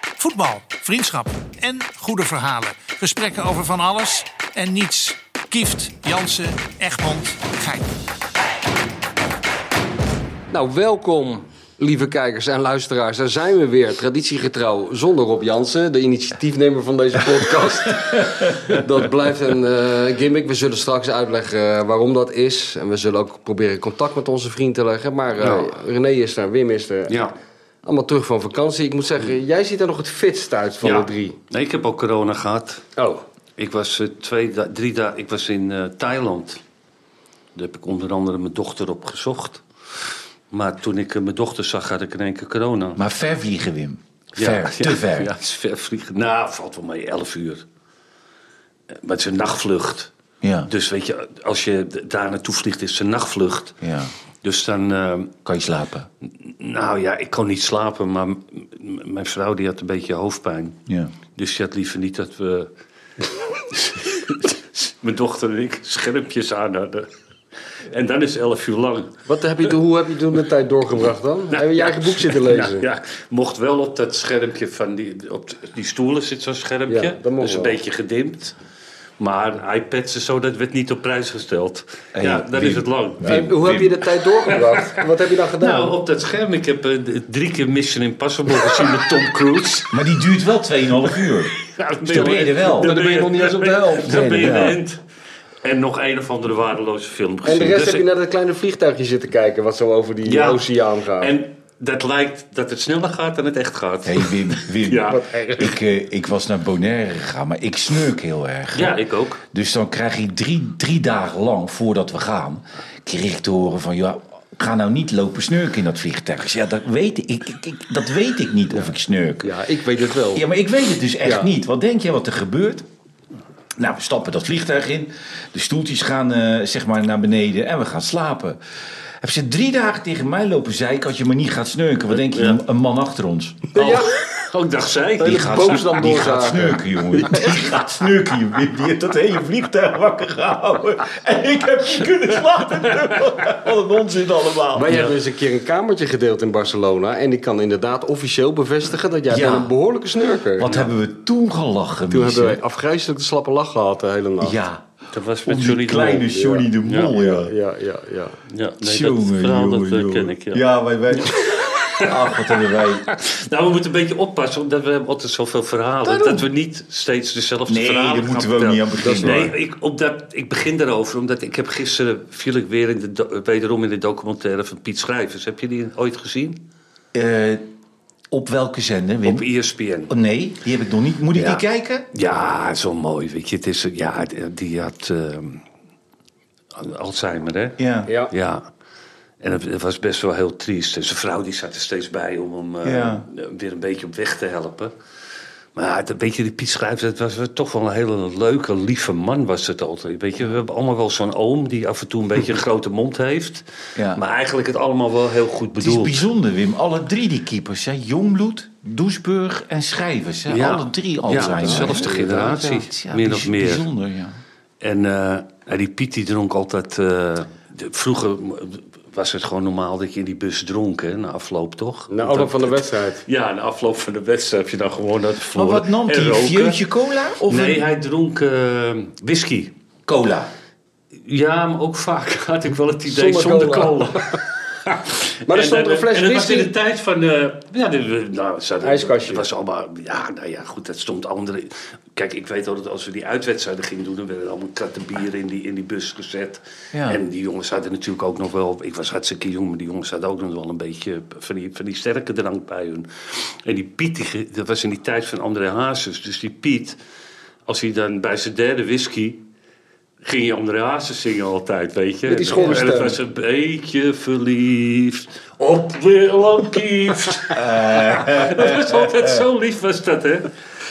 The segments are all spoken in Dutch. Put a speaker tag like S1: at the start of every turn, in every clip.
S1: Voetbal, vriendschap en goede verhalen. Gesprekken over van alles en niets. Kieft, Jansen, Egmond, Gein.
S2: Nou, welkom, lieve kijkers en luisteraars. Daar zijn we weer, traditiegetrouw, zonder Rob Jansen, de initiatiefnemer van deze podcast. dat blijft een eh, gimmick. We zullen straks uitleggen eh, waarom dat is. En we zullen ook proberen contact met onze vriend te leggen. Maar eh, René is er, Wim is er.
S3: Ja.
S2: Allemaal terug van vakantie. Ik moet zeggen, jij ziet er nog het fitst uit van
S3: ja.
S2: de drie.
S3: Nee, ik heb ook corona gehad.
S2: Oh,
S3: Ik was eh, twee, da- drie dagen. Ik was in eh, Thailand. Daar heb ik onder andere mijn dochter op gezocht. Maar toen ik eh, mijn dochter zag, had ik in één keer corona.
S4: Maar ver vliegen, Wim. Ver,
S3: Ja,
S4: te
S3: ja,
S4: ver.
S3: Ja, het is ver vliegen. Nou, valt wel mee, 11 uur. Eh, Maar het is een nachtvlucht.
S4: Ja.
S3: Dus weet je, als je d- daar naartoe vliegt, is het een nachtvlucht.
S4: Ja.
S3: Dus dan, eh,
S4: Kan je slapen?
S3: nou ja, ik kon niet slapen, maar m- m- mijn vrouw die had een beetje hoofdpijn.
S4: Ja.
S3: Dus je had liever niet dat we. Mijn dochter en ik schermpjes aan hadden. En dan is 11 uur lang.
S2: wat heb je, toen- hoe heb je toen de tijd doorgebracht dan? heb je je eigen boek zitten lezen?
S3: Nou, ja, mocht wel op dat schermpje van die, op die stoelen zit zo'n schermpje.
S2: Ja, dat mocht
S3: dus een
S2: wel.
S3: beetje gedimd. Maar iPads en zo, dat werd niet op prijs gesteld.
S4: Hey,
S3: ja, dan
S4: Wim.
S3: is het lang.
S2: En hoe heb je de tijd doorgebracht? wat heb je dan gedaan?
S3: Nou, op dat scherm, ik heb eh, drie keer Mission Impossible gezien met Tom Cruise.
S4: Maar die duurt wel 2,5 uur.
S3: Ja, dan
S4: dan ben je er wel. Maar
S2: dan ben je nog niet eens op de helft.
S3: Dan ben je
S4: Nee, ja.
S3: de end. En nog een of andere waardeloze film gezien.
S2: En de rest
S3: Dus
S2: heb je
S3: ik-
S2: naar dat kleine vliegtuigje zitten kijken, wat zo over die
S3: Ja.
S2: oceaan gaat.
S3: En dat lijkt dat het sneller gaat dan het echt gaat.
S4: Hé, hey, Wim, Wim.
S3: Ja.
S2: Wat erg.
S4: Ik, eh, ik was naar Bonaire gegaan, maar ik snurk heel erg.
S3: Ja, ik ook.
S4: Dus dan krijg ik drie, drie dagen lang, voordat we gaan, kreeg ik te horen van... Ja, ga nou niet lopen snurken in dat vliegtuig. Ik zei, Ja, dat weet ik, ik, ik- ik- dat weet ik niet of ik snurk.
S2: Ja, ik weet het wel.
S4: Ja, maar ik weet het dus echt
S2: Ja.
S4: niet. Wat denk jij wat er gebeurt? Nou, we stappen dat vliegtuig in. De stoeltjes gaan eh, zeg maar naar beneden en we gaan slapen. Heb ze drie dagen tegen mij lopen zeiken als je maar niet gaat snurken. Wat denk je, een, een man achter ons?
S2: Ja.
S3: Oh, ik dacht zij.
S2: Hele
S4: Die
S2: boos
S4: gaat,
S2: dan
S4: die
S2: doorzagen.
S4: gaat snurken, jongen. Die gaat snurken. jongen. Die heeft dat hele vliegtuig wakker gehouden. En ik heb niet kunnen slapen. Wat een onzin allemaal.
S2: Wij hebben eens een keer een kamertje gedeeld in Barcelona. En ik kan inderdaad officieel bevestigen dat jij
S4: Ja.
S2: bent een behoorlijke snurker.
S4: Wat hebben we toen gelachen,
S2: Toen
S4: Mies,
S2: hebben
S4: hè?
S2: wij afgrijzelijk de slappe lach gehad de hele nacht.
S4: Ja,
S3: Dat was
S4: om
S3: met
S4: die
S3: Johnny
S4: kleine
S3: Kleine.
S4: Johnny de Mol, ja.
S2: ja, ja. ja.
S3: Ja, nee, dat
S4: Tjonge,
S3: verhaal dat,
S4: jonge,
S3: eh,
S4: jonge.
S3: ken ik. Ja.
S4: Ja, wij... wij... Ach, wat hebben wij...
S3: Nou, we moeten een beetje oppassen, omdat we hebben altijd zoveel verhalen. Dat we niet steeds dezelfde
S4: Nee,
S3: verhalen
S4: daar
S3: gaan
S4: moeten we ook
S3: vertellen.
S4: niet aan beginnen,
S3: Nee,
S4: hoor.
S3: ik, omdat, ik begin daarover, omdat ik heb gisteren... viel ik weer in de, do- wederom in de documentaire van Piet Schrijvers. Heb je die ooit gezien?
S4: Eh, op welke zender, Wim?
S3: Op E ESPN.
S4: Oh, nee, die heb ik nog niet. Moet ik
S3: Ja.
S4: die kijken?
S3: Ja, zo mooi. Weet je, het is, ja, die had ehm, Alzheimer, hè?
S4: Ja.
S2: Ja.
S3: Ja. En het, het was best wel heel triest. En zijn vrouw die zat er steeds bij om hem eh,
S4: Ja.
S3: weer een beetje op weg te helpen. Maar ja, het- weet je, die Piet Schrijvers, het was wel toch wel een hele leuke, lieve man was het altijd. Weet je, we hebben allemaal wel zo'n oom die af en toe een beetje een grote mond heeft.
S4: Ja.
S3: Maar eigenlijk het allemaal wel heel goed
S4: Het is
S3: bedoeld.
S4: bijzonder, Wim. Alle drie die keepers, hè? Jongbloed, Doesburg en Schrijvers. Hè?
S3: Ja.
S4: Alle drie al
S3: Ja,
S4: zijn.
S3: dezelfde generatie, min of meer.
S4: Bijzonder, ja.
S3: En eh, ja, die Piet die dronk altijd. eh, de- vroeger was het gewoon normaal dat je in die bus dronk, hè, na afloop toch?
S2: Na afloop van de wedstrijd.
S3: Ja, na afloop van de wedstrijd heb je dan gewoon dat
S4: Maar
S3: verloren.
S4: wat nam
S3: En
S4: die?
S3: roken.
S4: Vieutje cola? Of
S3: Nee,
S4: een-
S3: hij dronk eh, whisky.
S4: cola.
S3: Ja, maar ook vaak had ik wel het idee
S2: Zonder
S3: zonder,
S2: cola.
S3: cola.
S2: Maar er
S3: En
S2: stond
S3: dan-
S2: een fles
S3: En dat was in
S2: whisky.
S3: de tijd van... eh ja, de, nou, ze hadden-
S2: Ijskastje.
S3: Het was allemaal... Ja, nou ja, goed, dat stond andere... Kijk, ik weet altijd, als we die uitwedstrijden gingen doen... dan werden er allemaal kratten bier in die, in die bus gezet.
S4: Ja.
S3: En die jongens hadden natuurlijk ook nog wel... Ik was hartstikke jong, maar die jongens hadden ook nog wel een beetje... van die, van die sterke drank bij hun. En die Piet, die ge- dat was in die tijd van André Hazes. Dus die Piet, als hij dan bij zijn derde whisky... Ging je André Hazes zingen altijd, weet je?
S2: Met die schorre
S3: En
S2: stem.
S3: het was een beetje verliefd op Willem Kieft. dat was altijd zo lief, was dat, hè?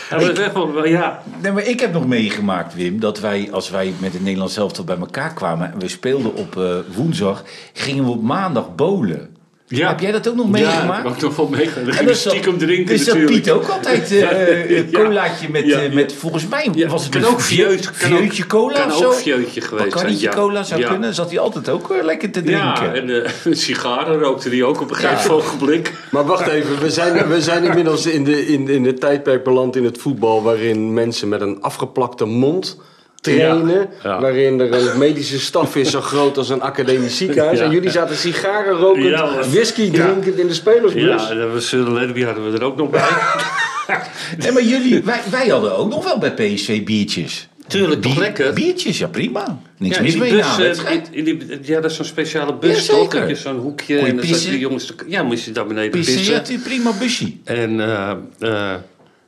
S3: Hij was echt wel, ja.
S4: Nee, maar ik heb nog meegemaakt, Wim, dat wij als wij met het Nederlands elftal bij elkaar kwamen en we speelden op eh, woensdag, gingen we op maandag bolen.
S3: Ja.
S4: Heb jij dat ook nog meegemaakt?
S3: Ja, ik nog wel meegemaakt. Dan
S4: En
S3: ging
S4: dat
S3: je stiekem drinken
S4: dus dat
S3: natuurlijk.
S4: Piet ook altijd eh, eh, een
S3: Ja.
S4: colaatje met,
S3: Ja,
S4: eh,
S3: ja.
S4: met volgens mij
S3: Ja,
S4: was het
S3: kan
S4: een
S3: ook
S4: vieu-
S3: vieut- kan ook-
S4: vieutje cola
S3: kan
S4: of
S3: ook
S4: zo.
S3: vieutje geweest zijn,
S4: Bacardietje
S3: ja.
S4: cola zou
S3: Ja.
S4: kunnen. Zat hij altijd ook eh, lekker te drinken.
S3: Ja, en eh, sigaren rookte die ook op een gegeven ogenblik.
S5: Maar wacht even, we zijn, we zijn inmiddels in, de, in, in het tijdperk beland in het voetbal... waarin mensen met een afgeplakte mond trainen.
S3: Ja, ja.
S5: Waarin er een medische staf is zo groot als een academisch ziekenhuis.
S3: Ja.
S5: En jullie zaten sigaren rokend,
S3: Ja, maar-
S5: whisky
S3: Ja.
S5: drinkend in de spelersbus.
S3: Ja, en dan was, eh, Lerby hadden we er ook nog bij.
S4: Nee, maar jullie, wij, wij hadden ook nog wel bij PSV biertjes.
S3: Tuurlijk, toch lekker.
S4: Biertjes, ja prima. Niks
S3: Ja, in
S4: mis
S3: die
S4: mee na
S3: bus,
S4: een
S3: eh,
S4: wedstrijd.
S3: in, in die, ja, dat is zo'n speciale bus,
S4: Ja,
S3: toch?
S4: zeker.
S3: Dat je zo'n hoekje
S4: Kon je
S3: en dan zaten
S4: pissen?
S3: die jongens... te- ja, moest je daar beneden pissen.
S4: Pissen, ja, prima busje.
S3: En eh, eh, ah,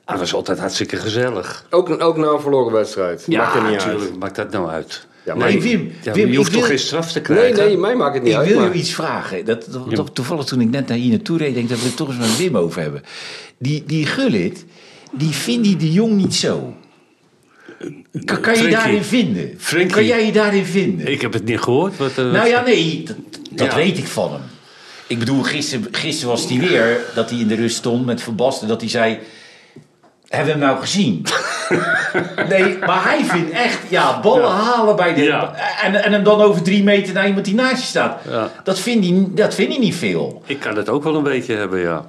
S3: dat was altijd hartstikke gezellig.
S5: Ook, ook na een verloren wedstrijd. Maakt er niet uit.
S3: tuurlijk, Maakt dat nou uit?
S5: Ja, maar-
S4: Hey, Wim,
S3: ja,
S4: Wim,
S3: je hoeft
S4: ik
S3: toch
S4: wil-
S3: geen straf te
S5: Nee,
S3: krijgen?
S5: nee, mij maakt het niet
S4: Ik
S5: uit.
S4: wil
S5: maar-
S4: je iets vragen. Dat, dat- dat- toevallig toen ik net naar hier naartoe reed, denk ik dat we het toch eens met Wim over hebben. Die, die Gullit, die vindt die de Jong niet zo. Kan, kan je
S3: Frenkie.
S4: daarin vinden?
S3: Frenkie.
S4: Kan jij je daarin vinden?
S3: Ik heb het niet gehoord. Wat, eh,
S4: nou ja, nee, dat, dat
S3: Ja.
S4: weet ik van hem. Ik bedoel, gisteren, gisteren was hij weer dat hij in de rust stond met Van Basten. Dat hij zei, hebben we hem nou gezien? nee, maar hij vindt echt, ja, ballen halen bij de...
S3: Ja.
S4: En, en hem dan over drie meter naar iemand die naast je staat.
S3: Ja.
S4: Dat, vindt hij, dat vindt hij niet veel.
S3: Ik kan het ook wel een beetje hebben, ja.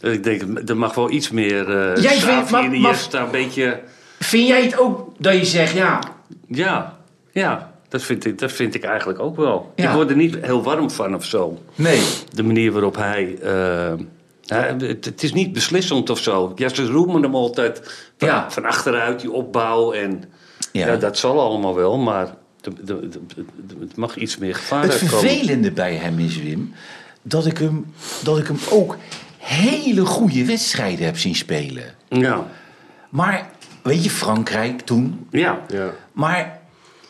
S3: Ik denk, er mag wel iets meer eh
S4: Jij
S3: Xavi
S4: vindt- maar-
S3: en
S4: maar-
S3: Iniesta een beetje...
S4: Vind jij het ook dat je zegt, ja...
S3: Ja, ja dat, vind ik, dat vind ik eigenlijk ook wel.
S4: Ja.
S3: Ik word er niet heel warm van of zo.
S4: Nee.
S3: De manier waarop hij... eh, hij- het, het is niet beslissend of zo. Ja, ze roemen hem altijd van,
S4: Ja.
S3: van achteruit, die opbouw. En,
S4: Ja.
S3: ja. dat zal allemaal wel, maar de- de- de- de- het mag iets meer gevaar
S4: Het
S3: komen.
S4: vervelende bij hem is, Wim, dat ik hem, dat ik hem ook hele goede wedstrijden heb zien spelen.
S3: Ja,
S4: Maar, weet je, Frankrijk toen.
S3: ja.
S5: Ja.
S4: Maar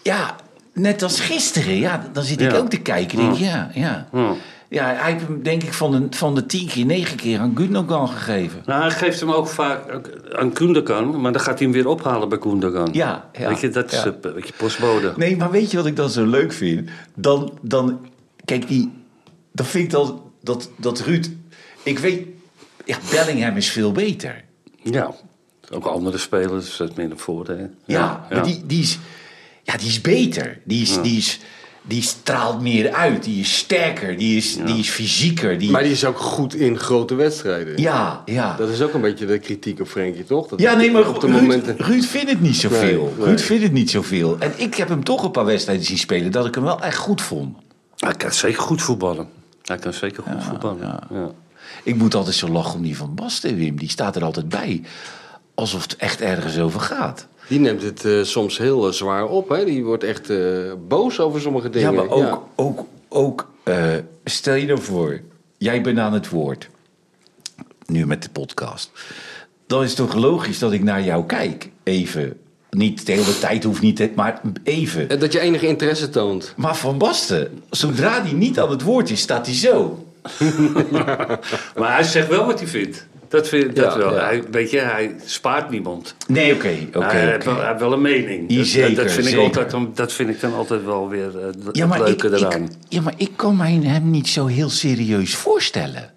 S4: ja, net als gisteren, ja, dan zit ik
S3: Ja.
S4: ook te kijken. Denk, ik, ja, ja.
S3: Ja.
S4: Ja, hij heeft hem denk ik van de, van de tien keer, negen keer aan Gundogan gegeven.
S3: Nou, hij geeft hem ook vaak ook aan Koenderkan, maar dan gaat hij hem weer ophalen bij Koenderkan.
S4: Ja, ja,
S3: Weet je, dat is
S4: ja.
S3: een beetje postbode.
S4: Nee, maar weet je wat ik dan zo leuk vind? Dan, dan kijk, die, dan vind ik dan dat, dat Ruud... Ik weet, ja, Bellingham is veel beter.
S3: Ja, ook andere spelers, dat is meer een voordeel. Ja,
S4: Ja, maar Die, die, is, ja, die is beter. Die, is, die, is, die straalt meer uit. Die is sterker. Die is, die is fysieker. Die,
S5: Maar die is ook goed in grote wedstrijden.
S4: Ja, ja.
S5: Dat is ook een beetje de kritiek op Frenkie, toch? Dat
S4: ja, nee, maar
S5: op de
S4: Ruud,
S5: momenten.
S4: Ruud vindt het niet zoveel.
S5: Nee,
S4: Ruud
S5: nee.
S4: vindt het niet zoveel. En ik heb hem toch een paar wedstrijden zien spelen dat ik hem wel echt goed vond.
S3: Hij kan zeker goed voetballen. Hij kan zeker goed voetballen. Ja.
S4: Ik moet altijd zo lachen om die van Basten, Wim. Die staat er altijd bij. Alsof het echt ergens over gaat.
S5: Die neemt het eh, soms heel eh, zwaar op. Hè? Die wordt echt eh, boos over sommige dingen.
S4: Ja, maar ook, ook, ook eh, stel je nou voor, jij bent aan het woord. Nu met de podcast. Dan is het toch logisch dat ik naar jou kijk. Even. Niet de hele tijd hoeft niet, hè, maar even.
S5: Eh, Dat je enige interesse toont.
S4: Maar Van Basten, zodra die niet aan het woord is, staat hij zo.
S3: Maar hij zegt wel wat hij vindt. Dat vind dat
S5: Ja,
S3: wel.
S5: ja.
S3: Hij, weet je, hij spaart niemand.
S4: Nee, oké, oké.
S3: hij, heeft
S4: oké.
S3: Ah, wel, eh, hij heeft wel een mening.
S4: Ja,
S3: Dat-
S4: zeker,
S3: dat, dat, vind ik
S4: zeker.
S3: altijd, dan- dat vind ik dan altijd wel weer eh, het
S4: Ja, maar ik,
S3: leuke eraan.
S4: ik, ja, maar ik kan mij hem niet zo heel serieus voorstellen.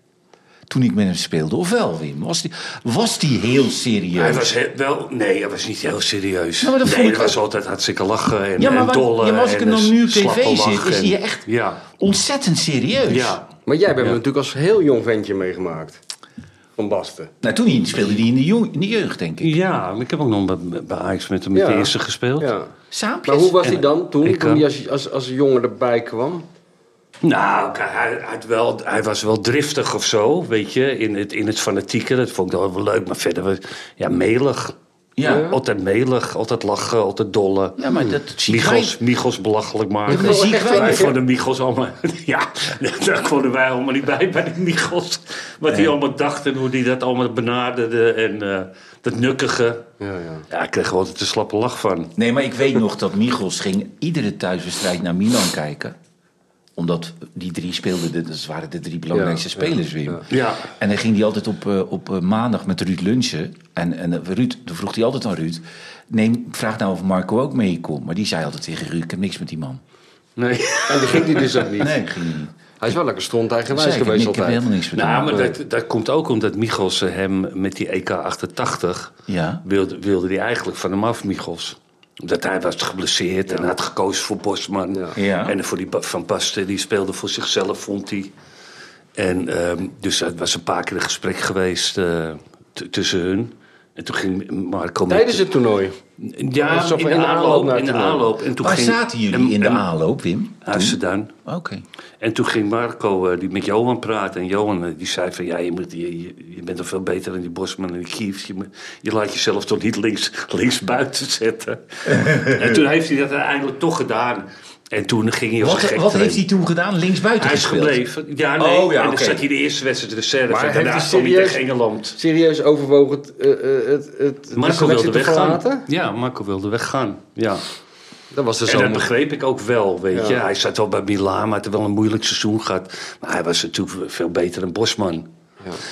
S4: Toen ik met hem speelde, of wel, Wim? Was die, was die heel serieus?
S3: Hij was he- wel, nee, hij was niet heel serieus.
S4: Ja, maar dat
S3: nee,
S4: vond ik
S3: hij was
S4: ook-
S3: altijd hartstikke lachen en,
S4: Ja, maar
S3: en
S4: waar-
S3: dolle.
S4: ja, maar als ik
S3: en
S4: hem dan
S3: een
S4: nu op
S3: slappe
S4: tv
S3: lach
S4: zit, is
S3: en-
S4: hij echt-
S3: Ja,
S4: Ontzettend serieus.
S3: ja.
S5: Maar jij bent hem natuurlijk als heel jong ventje meegemaakt. Van Basten.
S4: Nou, toen hij- speelde hij in de, jong, in de jeugd, denk ik.
S3: ja, maar ik heb ook nog bij, bij Ajax met hem met
S5: Ja.
S3: de eerste gespeeld.
S5: Ja.
S4: Saampjes.
S5: Maar hoe was hij dan toen,
S3: Ik,
S5: toen
S3: eh,
S5: hij als, als, als jongen erbij kwam?
S3: Nou, k- hij, hij, had wel, hij was wel driftig of zo, weet je, in het, in het fanatieke. Dat vond ik wel wel leuk, maar verder, was- ja, melig.
S4: Ja.
S3: Altijd melig, altijd lachen, altijd dolle.
S4: Ja, maar dat zie
S3: Michels,
S4: wij.
S3: Michels belachelijk
S4: Ja,
S3: maken.
S4: maar zie ik
S5: Echt
S4: wij-
S5: waar,
S3: Wij
S5: hè?
S3: vonden Michels allemaal... Ja, daar konden wij allemaal niet bij, bij die Michels. Wat die allemaal dachten, hoe die dat allemaal benaderde. En eh, dat nukkige.
S5: Ja, ja.
S3: Ja, ik kreeg er altijd een slappe lach van.
S4: Nee, maar ik weet nog dat Michels ging iedere thuiswedstrijd naar Milan kijken. Omdat die drie speelden, de- dat waren de drie belangrijkste
S5: Ja,
S4: spelers, Wim.
S3: Ja.
S4: En dan ging hij altijd op, eh, op eh, maandag met Ruud lunchen. En, en eh, Ruud, dan vroeg hij altijd aan Ruud... Neem, vraag nou of Marco ook mee komt. Maar die zei altijd tegen Ruud, ik heb niks met die man.
S3: Nee.
S5: En die ging die dus ook niet.
S4: Nee, ging hij niet.
S5: Hij is wel lekker stront
S4: Zeker,
S5: eigenwijs
S4: ik,
S5: geweest
S4: ik heb
S5: altijd.
S4: helemaal niks bedoeld.
S3: Nou, maar dat, dat komt ook omdat Michels eh, hem met die EK88
S4: Ja.
S3: wilde, wilde hij eigenlijk van hem af, Michels. Omdat hij was geblesseerd en had gekozen voor Bosman.
S4: Ja.
S3: En voor die Ba- Van Basten, die speelde voor zichzelf, vond hij. En ehm, dus dat was een paar keer een gesprek geweest eh, t- tussen hun. En toen ging Marco... met-
S5: Tijdens het toernooi.
S3: Ja,
S5: Alsof
S3: in de, aanloop,
S5: naar
S3: in de
S5: het toernooi.
S3: aanloop. En toen
S4: Waar
S3: ging,
S4: zaten jullie
S3: en-
S4: in de
S3: en-
S4: aanloop, Wim?
S3: Amsterdam.
S4: Oké.
S3: En toen ging Marco eh, die met Johan praten. En Johan eh, die zei van, ja, je, moet, je, je- je bent toch veel beter dan die Bosman en die Kieft. Je, moet- je laat jezelf toch niet links, links buiten zetten. en toen heeft hij dat uiteindelijk toch gedaan. En toen ging hij als een
S4: Wat,
S3: gek
S4: wat
S3: trainen.
S4: heeft hij toen gedaan? Linksbuiten
S3: Hij is
S4: gespeeld?
S3: gebleven. Ja, nee.
S4: Oh, ja,
S3: en dan
S4: oké.
S3: zat hij de eerste wedstrijd in de reserve.
S5: Maar
S3: en
S5: heeft
S3: daarna
S5: hij
S3: kwam hij
S5: serieus-
S3: tegen Engeland.
S5: Serieus overwogen het, eh, eh, het, het, de
S3: Marco
S5: selectie
S3: wilde
S5: te
S3: weggaan.
S5: verlaten?
S3: Ja, Marco wilde weggaan. Ja.
S5: Dat was de
S3: En dat
S5: zomer.
S3: begreep ik ook wel, weet je.
S5: Ja.
S3: Hij zat wel bij Milaan, maar had wel een moeilijk seizoen gehad. Maar hij was natuurlijk veel beter dan Bosman.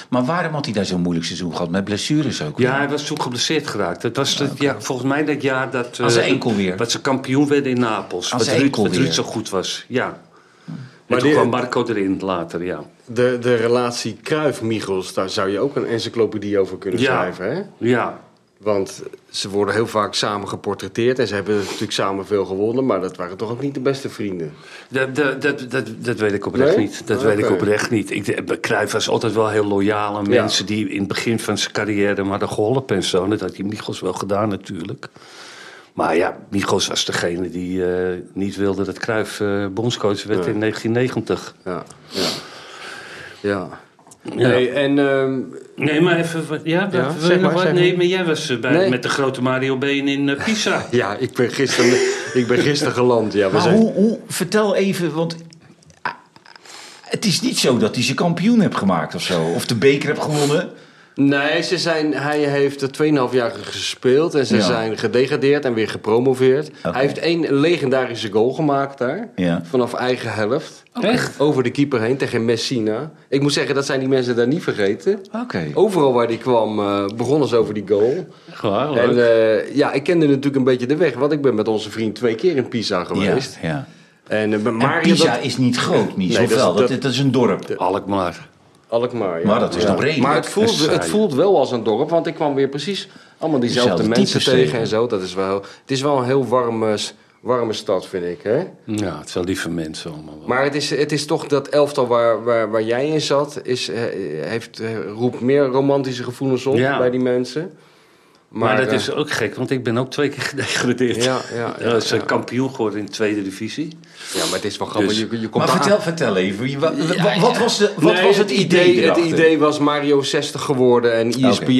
S4: Maar waarom had hij daar zo'n moeilijk seizoen gehad? Met blessures ook.
S3: Ja, hij was toen geblesseerd geraakt. Dat was het, ja, volgens mij dat jaar dat... eh,
S4: Aan zijn enkel weer.
S3: Dat ze kampioen werden in Napels.
S4: Aan
S3: wat
S4: zijn
S3: Ruud,
S4: enkel
S3: wat Ruud
S4: weer.
S3: zo goed was, ja. Maar
S2: Maar
S3: toen
S2: die-
S3: kwam Marco erin later, ja.
S2: De, de relatie Kruif-Michels, daar zou je ook een encyclopedie over kunnen
S3: Ja.
S2: schrijven. Hè?
S3: Ja,
S2: Want ze worden heel vaak samen geportretteerd en ze hebben natuurlijk samen veel gewonnen, maar dat waren toch ook niet de beste vrienden.
S3: dat, dat, dat, dat, dat weet ik oprecht
S2: Nee?
S3: niet. Dat
S2: Ah,
S3: weet ik
S2: oké.
S3: oprecht niet. Ik, Cruijff was altijd wel heel loyaal aan
S2: Ja.
S3: mensen die in het begin van zijn carrière hem hadden geholpen en zo. En dat had hij Michels wel gedaan natuurlijk. Maar ja, Michels was degene die eh, niet wilde dat Cruijff eh, bondscoach werd in 1990.
S2: Ja, ja. ja.
S3: Ja.
S2: Hey, en ehm,
S3: Nee, maar even. wat- Ja,
S2: Ja,
S3: wat-
S2: zeg
S3: wil je nog
S2: maar,
S3: wat?
S2: zeg
S3: Nee,
S2: maar.
S3: maar jij was eh, bij,
S2: Nee.
S3: met de grote Mario Been in eh, Pisa.
S2: ja, ik ben gisteren, ik ben gisteren geland. Ja, we
S4: Maar
S2: zijn,
S4: hoe, hoe, vertel even, want ah, het is niet zo dat hij ze kampioen hebt gemaakt of zo. Of de beker hebt gewonnen.
S2: nee, ze zijn, hij heeft er 2,5 jaar gespeeld en ze
S4: Ja.
S2: zijn gedegradeerd en weer gepromoveerd. Hij heeft één legendarische goal gemaakt daar,
S4: Ja.
S2: vanaf eigen helft.
S3: Echt?
S2: Over de keeper heen tegen Messina. Ik moet zeggen, dat zijn die mensen daar niet vergeten.
S4: Oké.
S2: Overal waar die kwam, eh, begonnen ze over die goal.
S4: Oh,
S3: Gewoon,
S2: En eh, ja, ik kende natuurlijk een beetje de weg, want ik ben met onze vriend twee keer in Pisa
S4: Ja,
S2: geweest.
S4: ja.
S2: En eh, bij
S4: Maar
S2: Mario,
S4: Pisa
S2: dat-
S4: is niet groot, niet
S2: Nee,
S4: of
S2: dat is-
S4: wel? Dat,
S2: dat-
S4: dat is een dorp.
S2: eh,
S3: Alkmaar.
S2: Alkmaar. Ja.
S4: Maar dat is
S2: Ja.
S4: nog redelijk.
S2: Maar het
S3: Dat is
S2: voelt,
S3: saai.
S2: het voelt wel als een dorp, want ik kwam weer precies allemaal diezelfde
S4: Dezelfde
S2: mensen
S4: types
S2: tegen,
S4: tegen.
S2: en zo. Dat is wel, het is wel een heel warme, s- warme stad, vind ik. Hè?
S3: Ja, het zijn lieve mensen allemaal. wel.
S2: Maar het is, het is toch dat elftal waar, waar, waar jij in zat, is, eh, heeft, eh, roept meer romantische gevoelens op
S3: Ja.
S2: bij die mensen.
S3: Maar, dat
S2: eh,
S3: is ook gek, want ik ben ook twee keer gedegradeerd.
S2: Ja, ja, ja,
S3: Eh, ze
S2: ja.
S3: kampioen geworden in de tweede divisie.
S2: Ja, maar het is wel grappig.
S3: Dus-
S2: je, je komt
S4: Maar
S2: eraan.
S4: vertel, vertel even, wie- wa- wa- wa- wat was, de, wat
S2: Nee,
S4: was het, idee
S2: Het
S4: erachter?
S2: idee was Mario 60 geworden en E ESPN.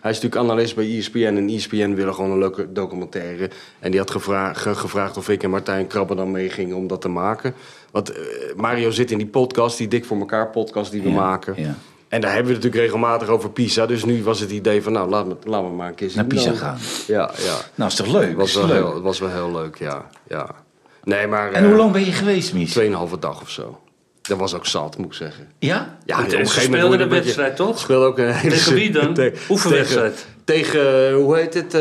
S2: Hij is natuurlijk analist bij E ESPN. En ESPN wilde gewoon een leuke documentaire. En die had gevra- ge- gevraagd of ik en Martijn Krabbe dan meegingen om dat te maken. Want eh, Mario zit in die podcast, die Dik voor elkaar podcast die we maken.
S4: ja.
S2: En daar hebben we het natuurlijk regelmatig over Pisa. Dus nu was het idee van, nou, laat me, laat me maar een keer zien
S4: Naar Pisa
S2: dan.
S4: gaan.
S2: Ja, ja.
S4: Nou, is toch leuk?
S2: Was
S4: Is
S2: wel,
S4: toch leuk?
S2: heel, was wel heel leuk, ja. ja. Nee, maar...
S4: En
S2: eh,
S4: hoe lang ben je geweest, Mies?
S2: Tweeënhalve dag of zo. Dat was ook zat, moet ik zeggen.
S4: Ja?
S2: Ja,
S3: Goed,
S2: op
S3: en
S2: een
S3: ze
S2: gegeven moment
S3: speelden
S2: wordt
S3: een
S2: het een
S3: wedstrijd,
S2: beetje-
S3: toch?
S2: Speelde ook een hele
S3: Tegen wie dan?
S2: te-
S3: Oefenwedstrijd.
S2: Tegen, tegen, hoe heet het?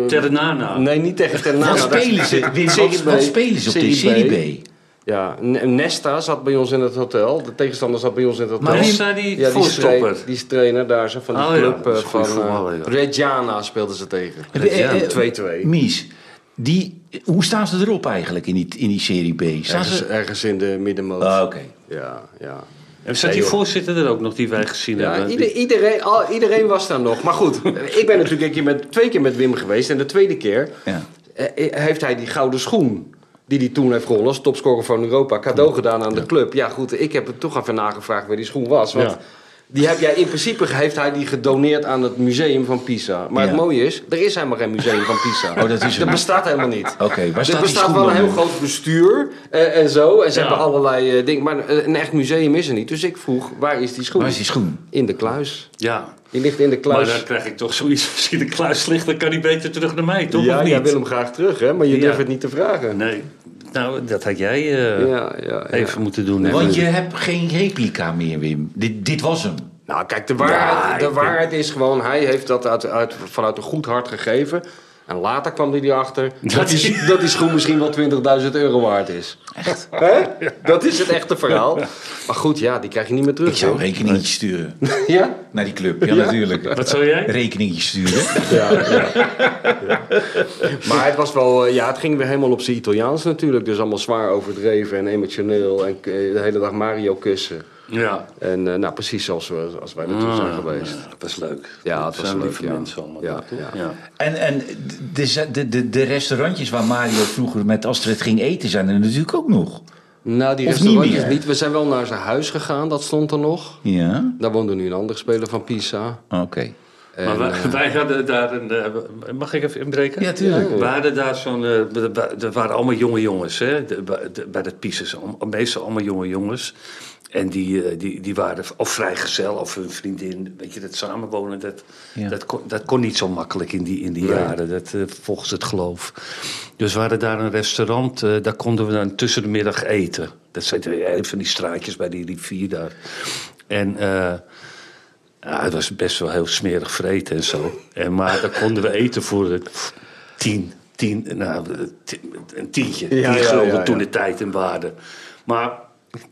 S2: eh,
S3: Ternana.
S2: Nee, niet tegen Ternana.
S4: Wat
S2: Daar-
S4: spelen ze, Wim,
S2: Nou, Serie
S4: wat,
S2: B.
S4: wat spelen ze op die Serie B?
S2: Ja, N- Nesta zat bij ons in het hotel. De tegenstander zat bij ons in het hotel.
S3: Maar wie is daar
S2: ja,
S3: die
S2: die, is tra-
S3: voorstopper?
S2: die is trainer daar, zo, van die
S3: Oh ja,
S2: club
S3: dat is
S2: eh,
S3: een
S2: van
S3: goede voetballer,
S2: eh,
S3: ja.
S2: Reggiana speelden ze tegen.
S4: Heb je- eh, eh,
S2: 2-2.
S4: Mies, die, hoe staan ze erop eigenlijk in die, in die Serie B? Staan
S2: Ergens,
S4: ze...
S2: ergens in de middenmoot.
S4: Ah, Oké.
S2: Ja, ja.
S3: En zat
S2: Nee,
S3: die
S2: joh.
S3: voorzitter er ook nog die wij gezien
S2: Ja,
S3: hebben?
S2: ieder-
S3: Die-
S2: iedereen, al, iedereen was daar nog. Maar goed, ik ben natuurlijk een keer met, twee keer met Wim geweest. En de tweede keer
S4: Ja.
S2: eh, heeft hij die gouden schoen... die hij toen heeft gewonnen als topscorer van Europa... cadeau gedaan aan de club. Ja goed, ik heb het toch even nagevraagd waar die schoen was. Want
S3: Ja.
S2: die heb jij, in principe heeft hij die gedoneerd aan het museum van Pisa. Maar het
S4: Ja.
S2: mooie is, er is helemaal geen museum van Pisa.
S4: Oh, dat is er niet.
S2: bestaat helemaal niet.
S4: Oké, waar staat die
S2: er bestaat
S4: schoen
S2: wel
S4: dan
S2: een heel
S4: nu?
S2: groot bestuur eh, en zo. En ze
S3: Ja.
S2: hebben allerlei eh, dingen. Maar een echt museum is er niet. Dus ik vroeg, waar is die schoen?
S4: Waar is die schoen?
S2: In de kluis.
S3: ja.
S2: Die ligt in de
S3: Maar
S2: kluis.
S3: dan krijg ik toch zoiets. Als hij de kluis ligt, dan kan hij beter terug naar mij, toch?
S2: ja,
S3: of niet?
S2: jij wil hem graag terug, hè? Maar je
S3: Ja.
S2: durft het niet te vragen.
S3: Nee. Nou, dat had jij eh,
S2: Ja, ja, ja.
S3: even moeten doen. hè.
S4: Want je hebt geen replica meer, Wim. Dit, dit was hem.
S2: Nou, kijk, de waarheid,
S3: Ja, ik
S2: de
S3: denk-
S2: waarheid is gewoon... Hij heeft dat uit, uit, vanuit een goed hart gegeven. En later kwam hij erachter dat die, dat die schoen misschien wel 20.000 euro waard is. Echt? Hè? Dat is het echte verhaal. Maar goed, ja, die krijg je niet meer terug.
S4: Ik zou een
S2: hoor.
S4: rekeningetje sturen
S2: Ja?
S4: naar die club. Ja,
S2: Ja.
S4: natuurlijk.
S3: Wat zou jij?
S4: Rekeningetje sturen.
S2: Ja, ja.
S6: Maar
S2: Maar het was wel, eh, ja, het ging weer helemaal op zijn Italiaans natuurlijk. Dus allemaal zwaar overdreven en emotioneel. En eh, de hele dag Mario kussen.
S3: Ja.
S2: En eh, nou, precies zoals we, als wij naartoe
S4: Ah.
S2: zijn geweest.
S3: Ja, dat was leuk.
S2: Ah, Ja,
S3: dat
S2: het was
S3: zijn
S2: leuk,
S3: lieve
S2: ja.
S3: mensen allemaal.
S2: Ja,
S3: dat, toch?
S2: ja.
S4: En, en de, de, de, de restaurantjes waar Mario vroeger met Astrid ging eten zijn er natuurlijk ook nog.
S2: Nou, die
S4: Of niet
S2: restaurantjes
S4: meer.
S2: niet. We zijn wel naar zijn huis gegaan, dat stond er nog.
S4: Ja,
S2: Daar woonde nu een ander speler van Pisa.
S4: oké.
S3: Maar wij, wij hadden daar een... eh, mag ik even inbreken?
S4: eh, Ja, tuurlijk.
S3: We hadden daar zo'n... eh, Er waren allemaal jonge jongens, hè. de- bij- de- Bij dat Pieces. Al- Meestal allemaal jonge jongens. En die, eh, die, die waren of vrijgezel of hun vriendin. Weet je, dat samenwonen, dat,
S4: Ja.
S3: dat, kon, dat kon niet zo makkelijk in die, in die jaren. Dat, eh, volgens het geloof. Dus we hadden daar een restaurant. eh, daar konden we dan tussen de middag eten. Dat zijn eh, van die straatjes bij die rivier daar. En... eh, ja, het was best wel heel smerig vreten en zo. En, maar dan konden we eten voor eh, tien, tien, nou, eh, ti- een tientje.
S2: Ja,
S3: tien
S2: ja,
S3: gulden
S2: ja, ja.
S3: toen de tijd in waarde. Maar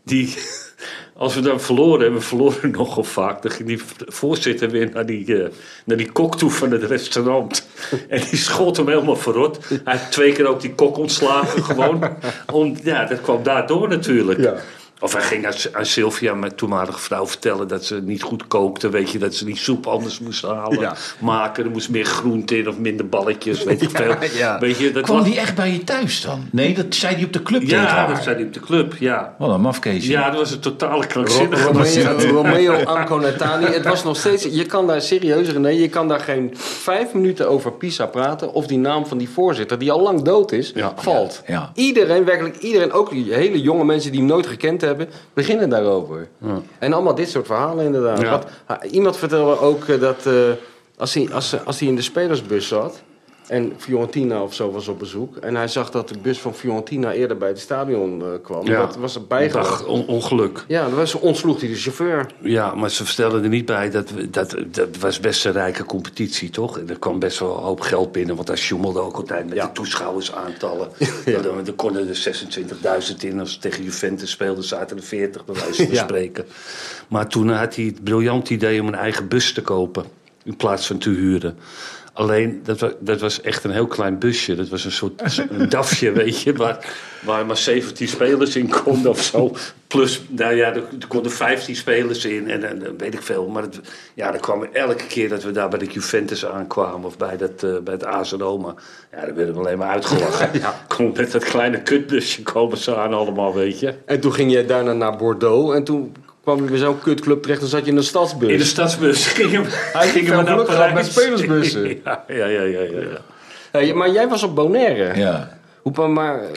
S3: die, als we dan verloren, en we verloren nogal vaak... dan ging die voorzitter weer naar die, eh, naar die kok toe van het restaurant. En die schoot hem helemaal verrot. Hij had twee keer ook die kok ontslagen gewoon. Om, ja, dat kwam daardoor natuurlijk.
S2: Ja.
S3: Of hij ging aan, aan Sylvia, mijn toenmalige vrouw, vertellen dat ze niet goed kookte. Weet je, dat ze die soep anders moest halen.
S2: Ja.
S3: Maken, er moest meer groente in of minder balletjes, weet ik veel.
S2: ja.
S3: Weet je, dat
S4: Kwam
S3: was-
S4: die echt bij je thuis dan? Nee, dat zei hij op de club tegen
S3: Ja,
S4: haar.
S3: dat zei hij op de club, ja.
S4: Wat een mafkees.
S3: Ja, dat was een totale krankzinnige.
S2: Romeo, Romeo Anconatani. Het was nog steeds. Je kan daar serieus, René, je kan daar geen vijf minuten over Pisa praten. Of die naam van die voorzitter, die al lang dood is,
S3: Ja.
S2: valt.
S4: Ja, ja.
S2: Iedereen, werkelijk iedereen, ook die hele jonge mensen die hem nooit gekend hebben, beginnen daarover. En allemaal dit soort verhalen, inderdaad.
S3: Ja.
S2: Wat- ha- iemand vertelde ook eh, dat eh, als, hij, als, als hij in de spelersbus zat. En Fiorentina of zo was op bezoek. En hij zag dat de bus van Fiorentina eerder bij het stadion eh, kwam.
S3: Ja.
S2: Dat was er bijgelegd.
S3: Dag, on- ongeluk.
S2: Ja, dan was, ontsloeg hij de chauffeur.
S3: Ja, maar ze vertelden er niet bij dat, we- dat dat was best een rijke competitie, toch? En er kwam best wel een hoop geld binnen, want daar sjoemelde ook altijd met de toeschouwersaantallen. Er, er konden er 26.000 in als ze tegen Juventus speelden, zaten er 40 bij wijze van
S2: Ja.
S3: spreken. Maar toen had hij het briljant idee om een eigen bus te kopen in plaats van te huren. Alleen, dat was, dat was echt een heel klein busje. Dat was een soort een dafje, weet je, waar, waar maar 17 spelers in konden of zo. Plus, nou ja, er, er konden 15 spelers in en, en, en weet ik veel. Maar het, ja, dan kwam elke keer dat we daar bij de Juventus aankwamen of bij, dat, eh, bij het AS Roma. Ja, dan werden we alleen maar uitgelachen. Kom met dat kleine kutbusje komen ze aan allemaal, weet je.
S2: En toen ging jij daarna naar Bordeaux. En toen kwam je bij zo'n kutclub terecht. Dan zat je in een stadsbus.
S3: In de stadsbus gingen we, gingen
S2: veel
S3: we naar
S2: geluk gehad
S3: Parijs.
S2: met spelersbussen.
S3: Ja, ja, ja, ja. ja, ja.
S2: Hey, maar jij was op Bonaire.
S4: Ja.
S2: Hoe kwam maar... eh,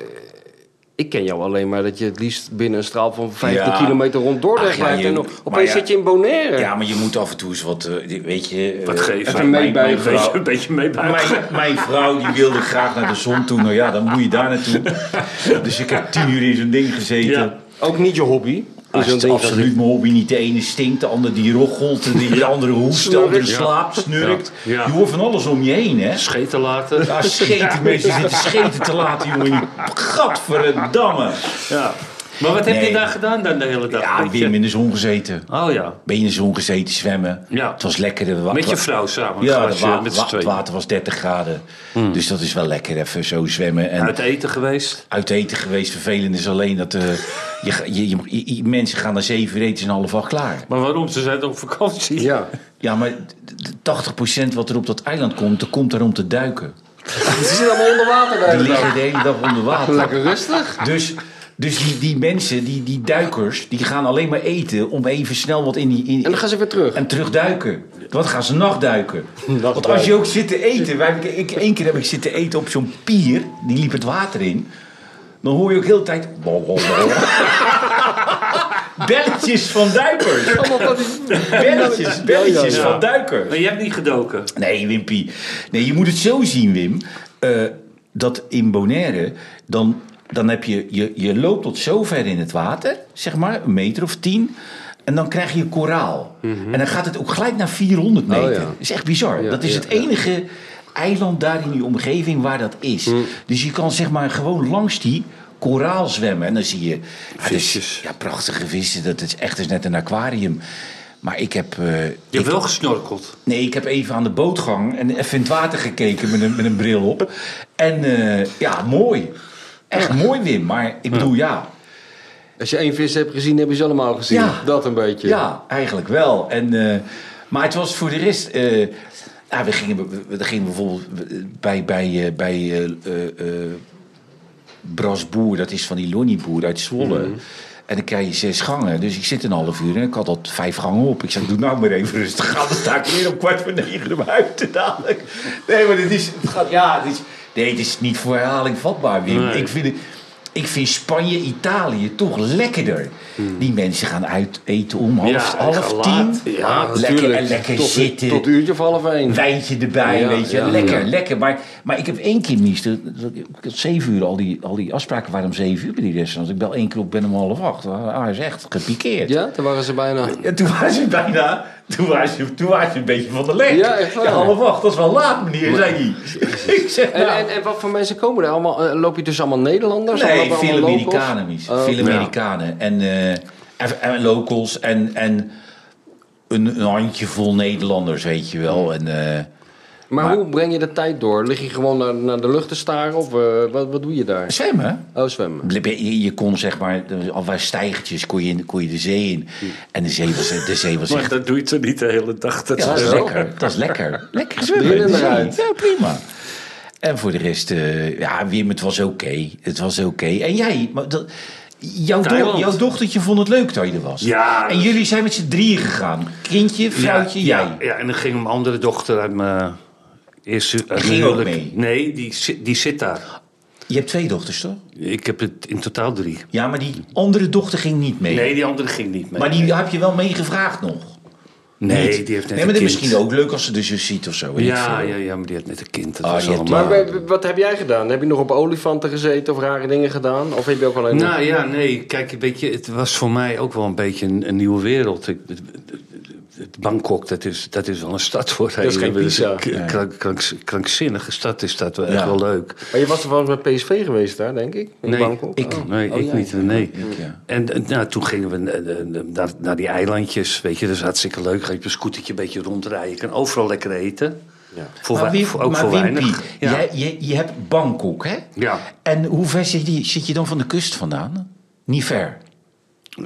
S2: Ik ken jou alleen maar dat je het liefst binnen een straal van 15
S4: Ja.
S2: kilometer rond Dordrecht
S4: Ach, ja,
S2: rijdt.
S4: je-
S2: en op-
S4: maar
S2: opeens
S4: ja.
S2: zit je in Bonaire.
S4: ja, maar je moet af en toe eens wat, eh, weet je... eh,
S3: Wat geven.
S2: Even mee
S3: Mijn-
S2: bij
S3: mijn
S2: je vrouw.
S3: beetje- Een beetje mee bij
S4: Mijn, mijn vrouw die wilde graag naar de zon toe. Nou ja, dan moet je daar naartoe. Dus ik heb tien uur in zo'n ding gezeten.
S3: Ja.
S2: Ook niet je hobby.
S4: Ah,
S2: Is
S4: het is absoluut mijn hobby niet. De ene stinkt, de ander die roggelt, de, de andere hoest, de
S2: Snurkt.
S4: andere slaapt, snurkt.
S3: Ja. Ja.
S4: Je hoort van alles om je heen, hè?
S3: Scheten laten.
S4: Ja, scheten, mensen zitten scheten te laten, jongen. in die- Gadverdamme.
S3: Ja. Maar wat heb
S4: Nee.
S3: je daar gedaan dan de hele dag?
S4: Ja,
S3: Met
S4: Wim
S3: je-
S4: in de zon gezeten.
S3: Oh ja.
S4: Ben je in de zon gezeten, zwemmen.
S3: Ja.
S4: Het was lekker. Wat,
S3: Met je vrouw samen.
S4: Ja,
S3: Een
S4: het
S3: glaasje
S4: wa-
S3: met
S4: wa-
S3: z'n
S4: het
S3: tweeën. Hmm.
S4: water was 30 graden. Dus dat is wel lekker, even zo zwemmen. En
S3: Uit eten geweest.
S4: uit eten geweest, vervelend is alleen dat... eh, je, ga- je, je, je- je- mensen gaan naar zeven uur eten, zijn half acht klaar.
S3: Maar waarom? Ze zijn toch op vakantie?
S2: Ja.
S4: Ja, maar d- 80% wat er op dat eiland komt, dat komt daar om te duiken.
S2: Ze Dus zitten allemaal onder water daar.
S4: Die liggen de hele dag onder water.
S2: Lekker rustig.
S4: Dus, dus die, die mensen, die, die duikers, die gaan alleen maar eten om even snel wat in die... In,
S2: En dan gaan ze weer terug.
S4: en terugduiken. Want gaan ze nachtduiken. Want als je ook zit te eten... Wij, hebben- ik, één keer heb ik zitten eten op zo'n pier. Die liep het water in. Dan hoor je ook heel de tijd... belletjes van duikers.
S2: Allemaal van die-
S4: Belletjes, belletjes
S2: Ja, ja, ja.
S4: van duikers.
S3: Maar je hebt niet gedoken.
S4: Nee, Wimpy. Nee, je moet het zo zien, Wim. eh, dat in Bonaire, dan, dan heb je, je... Je loopt tot zo ver in het water, zeg maar, een meter of tien... En dan krijg je koraal. En dan gaat het ook gelijk naar 400 meter.
S2: Mhm. Oh ja.
S4: Dat is echt bizar.
S2: Ja,
S4: dat is
S2: ja,
S4: het enige eiland daar in die omgeving waar dat is.
S2: Mhm.
S4: Dus je kan zeg maar gewoon langs die koraal zwemmen. En dan zie je... ja, dat is-
S3: Visjes.
S4: Ja, prachtige vissen. Dat is echt dus net een aquarium. Maar ik heb... eh,
S3: Je
S4: ik-
S3: hebt wel gesnorkeld.
S4: Nee, ik heb even aan de bootgang en even in het water gekeken met een, met een bril op. En eh, ja, mooi. Echt mooi, Wim. Maar ik bedoel, ja.
S5: Als je één vis hebt gezien, heb je ze allemaal gezien.
S4: Ja.
S5: Dat een beetje.
S4: Ja, eigenlijk wel. En, eh, maar het was voor de rest... eh, nou, we, gingen, we, we- we gingen bijvoorbeeld bij, bij, eh, bij eh, eh, eh, Bras Boer, dat is van die Lonnieboer uit Zwolle.
S3: Mhm.
S4: En dan krijg je zes gangen. Dus ik zit een half uur en ik had al vijf gangen op. Ik zeg, doe nou maar even rustig aan. Dan sta ik weer om kwart voor negen om uit te dadelijk. Nee, maar dit is... Het gaat, ja, dit is, nee, dit is niet voor herhaling vatbaar, Wim.
S3: Nee.
S4: Ik, vind, het- ik vind Spanje, Italië toch lekkerder. Die mensen gaan uit eten om half,
S3: Hmm. Ja,
S4: half
S3: gaan
S4: tien.
S3: laat. Ja,
S4: lekker,
S5: natuurlijk.
S4: en lekker
S5: tot,
S4: zitten
S5: Tot uurtje of half één.
S4: een wijntje erbij,
S5: Ja,
S4: weet je.
S5: ja,
S4: lekker,
S5: ja.
S4: lekker. Maar, maar ik heb één keer mis. dat- dat- Ik had zeven uur, al die, al die afspraken waren om zeven uur bij die restaurants. Ik bel één keer op, ben om half acht. Ah, hij is echt gepikeerd.
S5: Ja, daar waren ze bijna.
S4: En toen was je bijna, toen was je, toen was je een beetje van de lek.
S5: Ja, echt waar.
S4: half acht, dat is wel laat, meneer, zei hij. ik zeg,
S5: En,
S4: nou,
S5: en, en wat voor mensen komen er allemaal? Eh, Loop je dus allemaal Nederlanders?
S4: nee,
S5: Allemaal-
S4: veel
S5: allemaal locals?
S4: Amerikanen, mis.
S5: Oh,
S4: veel
S5: ja.
S4: Amerikanen. En, eh, en, en locals en, en een, een handjevol Nederlanders, weet je
S5: Mm.
S4: wel. En, eh,
S5: Maar,
S4: Maar-
S5: hoe breng je de tijd door? Lig je gewoon naar, naar de lucht te staren of eh, wat, wat doe je daar?
S4: zwemmen.
S5: Oh, zwemmen.
S4: Je, je kon zeg maar, al waar stijgertjes kon je, in- kon je de zee in. En de zee was, de zee was
S3: Maar
S4: echt...
S3: dat doe je toch niet de hele dag? Dat
S4: Ja, dat
S3: is
S4: is
S5: wel.
S4: lekker. Dat is lekker. Lekker zwemmen.
S5: Binnen
S4: in de
S5: en
S4: zee.
S5: eruit.
S4: Ja, prima. En voor de rest, eh, ja, Wim, het was oké. Het was oké. En jij, maar dat, jouw, do-
S3: Thailand.
S4: jouw dochtertje vond het leuk dat je er was.
S3: Ja. dus-
S4: En jullie zijn met z'n drieën gegaan. Kindje, vrouwtje,
S3: ja,
S4: jij.
S3: Ja, ja, en dan ging mijn andere dochter uit mijn eerste... uit
S4: ging
S3: mijn
S4: ook
S3: huwelijk.
S4: mee?
S3: Nee, die, zit- die zit daar.
S4: Je hebt twee dochters, toch?
S3: Ik heb het in totaal drie.
S4: Ja, maar die andere dochter ging niet mee.
S3: Nee, die andere ging niet mee.
S4: Maar die heb je wel meegevraagd nog.
S3: nee,
S4: Niet?
S3: die heeft net
S4: Nee, maar
S3: een
S4: dat
S3: kind.
S4: is misschien ook leuk als ze de zus ziet of zo. weet ik
S3: Ja,
S4: veel.
S3: ja, ja, maar die had net een kind. Dat
S4: Ah,
S3: was
S4: die had-
S3: allemaal...
S5: Maar w- w- wat heb jij gedaan? Heb je nog op olifanten gezeten of rare dingen gedaan? Of heb je ook alleen...
S3: Nou ja, nee, kijk, weet je, het was voor mij ook wel een beetje een, een nieuwe wereld. Ik, het- het Bangkok, dat is, dat is wel een stad voor Dat
S5: is geen Pisa.
S3: Krank, krank- krankzinnige stad is dat wel echt
S4: Ja.
S3: wel leuk.
S5: Maar je was er wel eens met PSV geweest daar, denk ik? In
S3: Nee,
S5: Bangkok?
S3: ik,
S5: Oh.
S3: nee, ik niet. Nee.
S4: ja.
S3: En, en, nou, toen gingen we eh, eh, naar, naar die eilandjes, weet je, dat is hartstikke leuk. Ga je op een scootertje een beetje rondrijden. Je kan overal lekker eten. Voor
S4: Maar
S3: wei-
S4: Wim-
S3: voor- ook
S4: maar
S3: voor
S4: Wimpy,
S3: weinig. Ja.
S4: jij- je, je hebt Bangkok, hè?
S3: Ja.
S4: En hoe ver zit, die, zit je dan van de kust vandaan? Niet ver.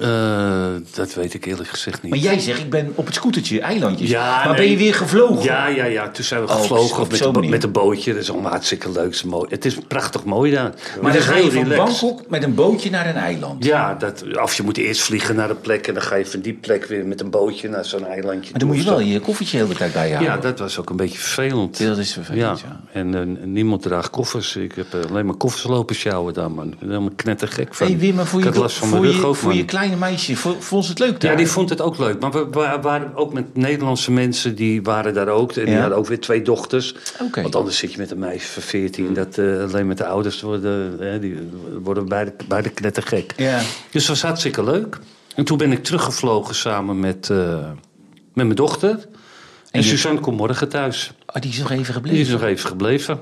S3: Eh, dat weet ik eerlijk gezegd niet.
S4: Maar jij zegt, ik ben op het scootertje, eilandjes.
S3: Ja,
S4: maar
S3: nee.
S4: ben je weer gevlogen?
S3: Ja, ja, ja. Toen zijn we
S4: Oh, op-
S3: gevlogen
S4: op
S3: met,
S4: zo'n
S3: de, bo-
S4: manier.
S3: met een bootje. Dat is allemaal hartstikke leuk. Het is mooi. Het is prachtig mooi daar.
S4: Maar
S3: Het
S4: dan
S3: is
S4: ga
S3: heel
S4: je van
S3: relaxed.
S4: Bangkok met een bootje naar een eiland.
S3: Ja, dat, of je moet eerst vliegen naar een plek en dan ga je van die plek weer met een bootje naar zo'n eilandje.
S4: Maar dan
S3: toe
S4: moet je
S3: of
S4: wel
S3: zo.
S4: je koffertje de hele tijd bij je
S3: Ja,
S4: houden.
S3: dat was ook een beetje vervelend.
S4: dat is vervelend, ja.
S3: En eh, niemand draagt koffers. Ik heb eh, alleen maar koffers lopen sjouwen daar, man. Ik ben helemaal knettergek van.
S4: Hey Wim, maar voor
S3: ik
S4: je,
S3: had last van
S4: voor
S3: mijn rug
S4: je,
S3: ook,
S4: voor je
S3: man.
S4: kleine meisje, vo- vond ze het leuk daar?
S3: Ja, die vond het ook leuk. Maar we, we waren ook met Nederlandse mensen, die waren daar ook. En die
S4: Ja.
S3: hadden ook weer twee dochters.
S4: Oké.
S3: Want anders zit je met een meisje van 14. Dat eh, alleen met de ouders worden, hè, die worden beide, beide knettergek.
S4: Ja.
S3: Dus dat was hartstikke leuk. En toen ben ik teruggevlogen samen met, eh, met mijn dochter. En,
S4: je-
S3: Suzanne komt morgen thuis.
S4: Oh, die is nog even
S3: Die is
S4: gebleven?
S3: nog even gebleven.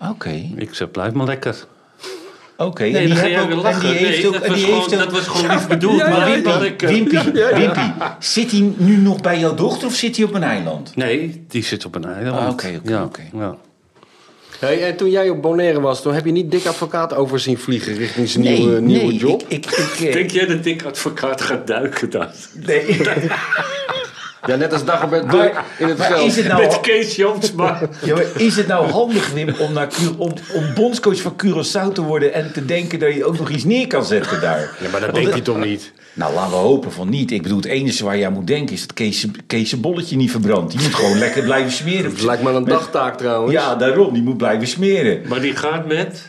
S4: Oké, oké.
S3: Ik zeg, blijf maar lekker.
S4: En die
S3: ga
S4: heeft
S3: jij
S4: ook-
S3: weer
S4: en
S3: lachen.
S4: die
S3: Nee,
S4: heeft ook-
S3: dat
S4: en
S3: was
S4: die
S3: gewoon-
S4: heeft ook-
S3: Dat was gewoon lief bedoeld.
S4: Maar
S3: maar blijf
S4: Wimpy,
S3: maar lekker.
S4: Wimpy, Wimpy, zit hij nu nog bij jouw dochter of zit hij op een eiland?
S3: Nee, die zit op een eiland.
S4: Ah, oké, oké,
S3: ja,
S4: oké.
S3: ja.
S5: Hey, en toen jij op Bonaire was, toen heb je niet dik advocaat over zien vliegen richting zijn nieuwe, nieuwe job?
S4: Ik, ik, ik, eh,
S3: Denk jij dat ik advocaat ga duiken daar?
S4: nee.
S5: Ja, net als Dagobert
S4: Maar-
S5: Duck in het
S4: maar
S5: veld.
S4: is het
S3: Met
S4: nou,
S3: Kees Jansma.
S4: ja, maar is het nou handig, Wim, om, naar, Cu- om, om bondscoach van Curaçao te worden en te denken dat je ook nog iets neer kan zetten daar?
S5: Ja, maar dat denk je toch niet?
S4: Nou, laten we hopen van niet. Ik bedoel, het enige waar jij aan moet denken is dat Kees, Kees zijn bolletje niet verbrandt. Die moet gewoon lekker blijven smeren.
S5: Het lijkt me een dagtaak trouwens.
S4: Ja, daarom. Die moet blijven smeren.
S3: Maar die gaat met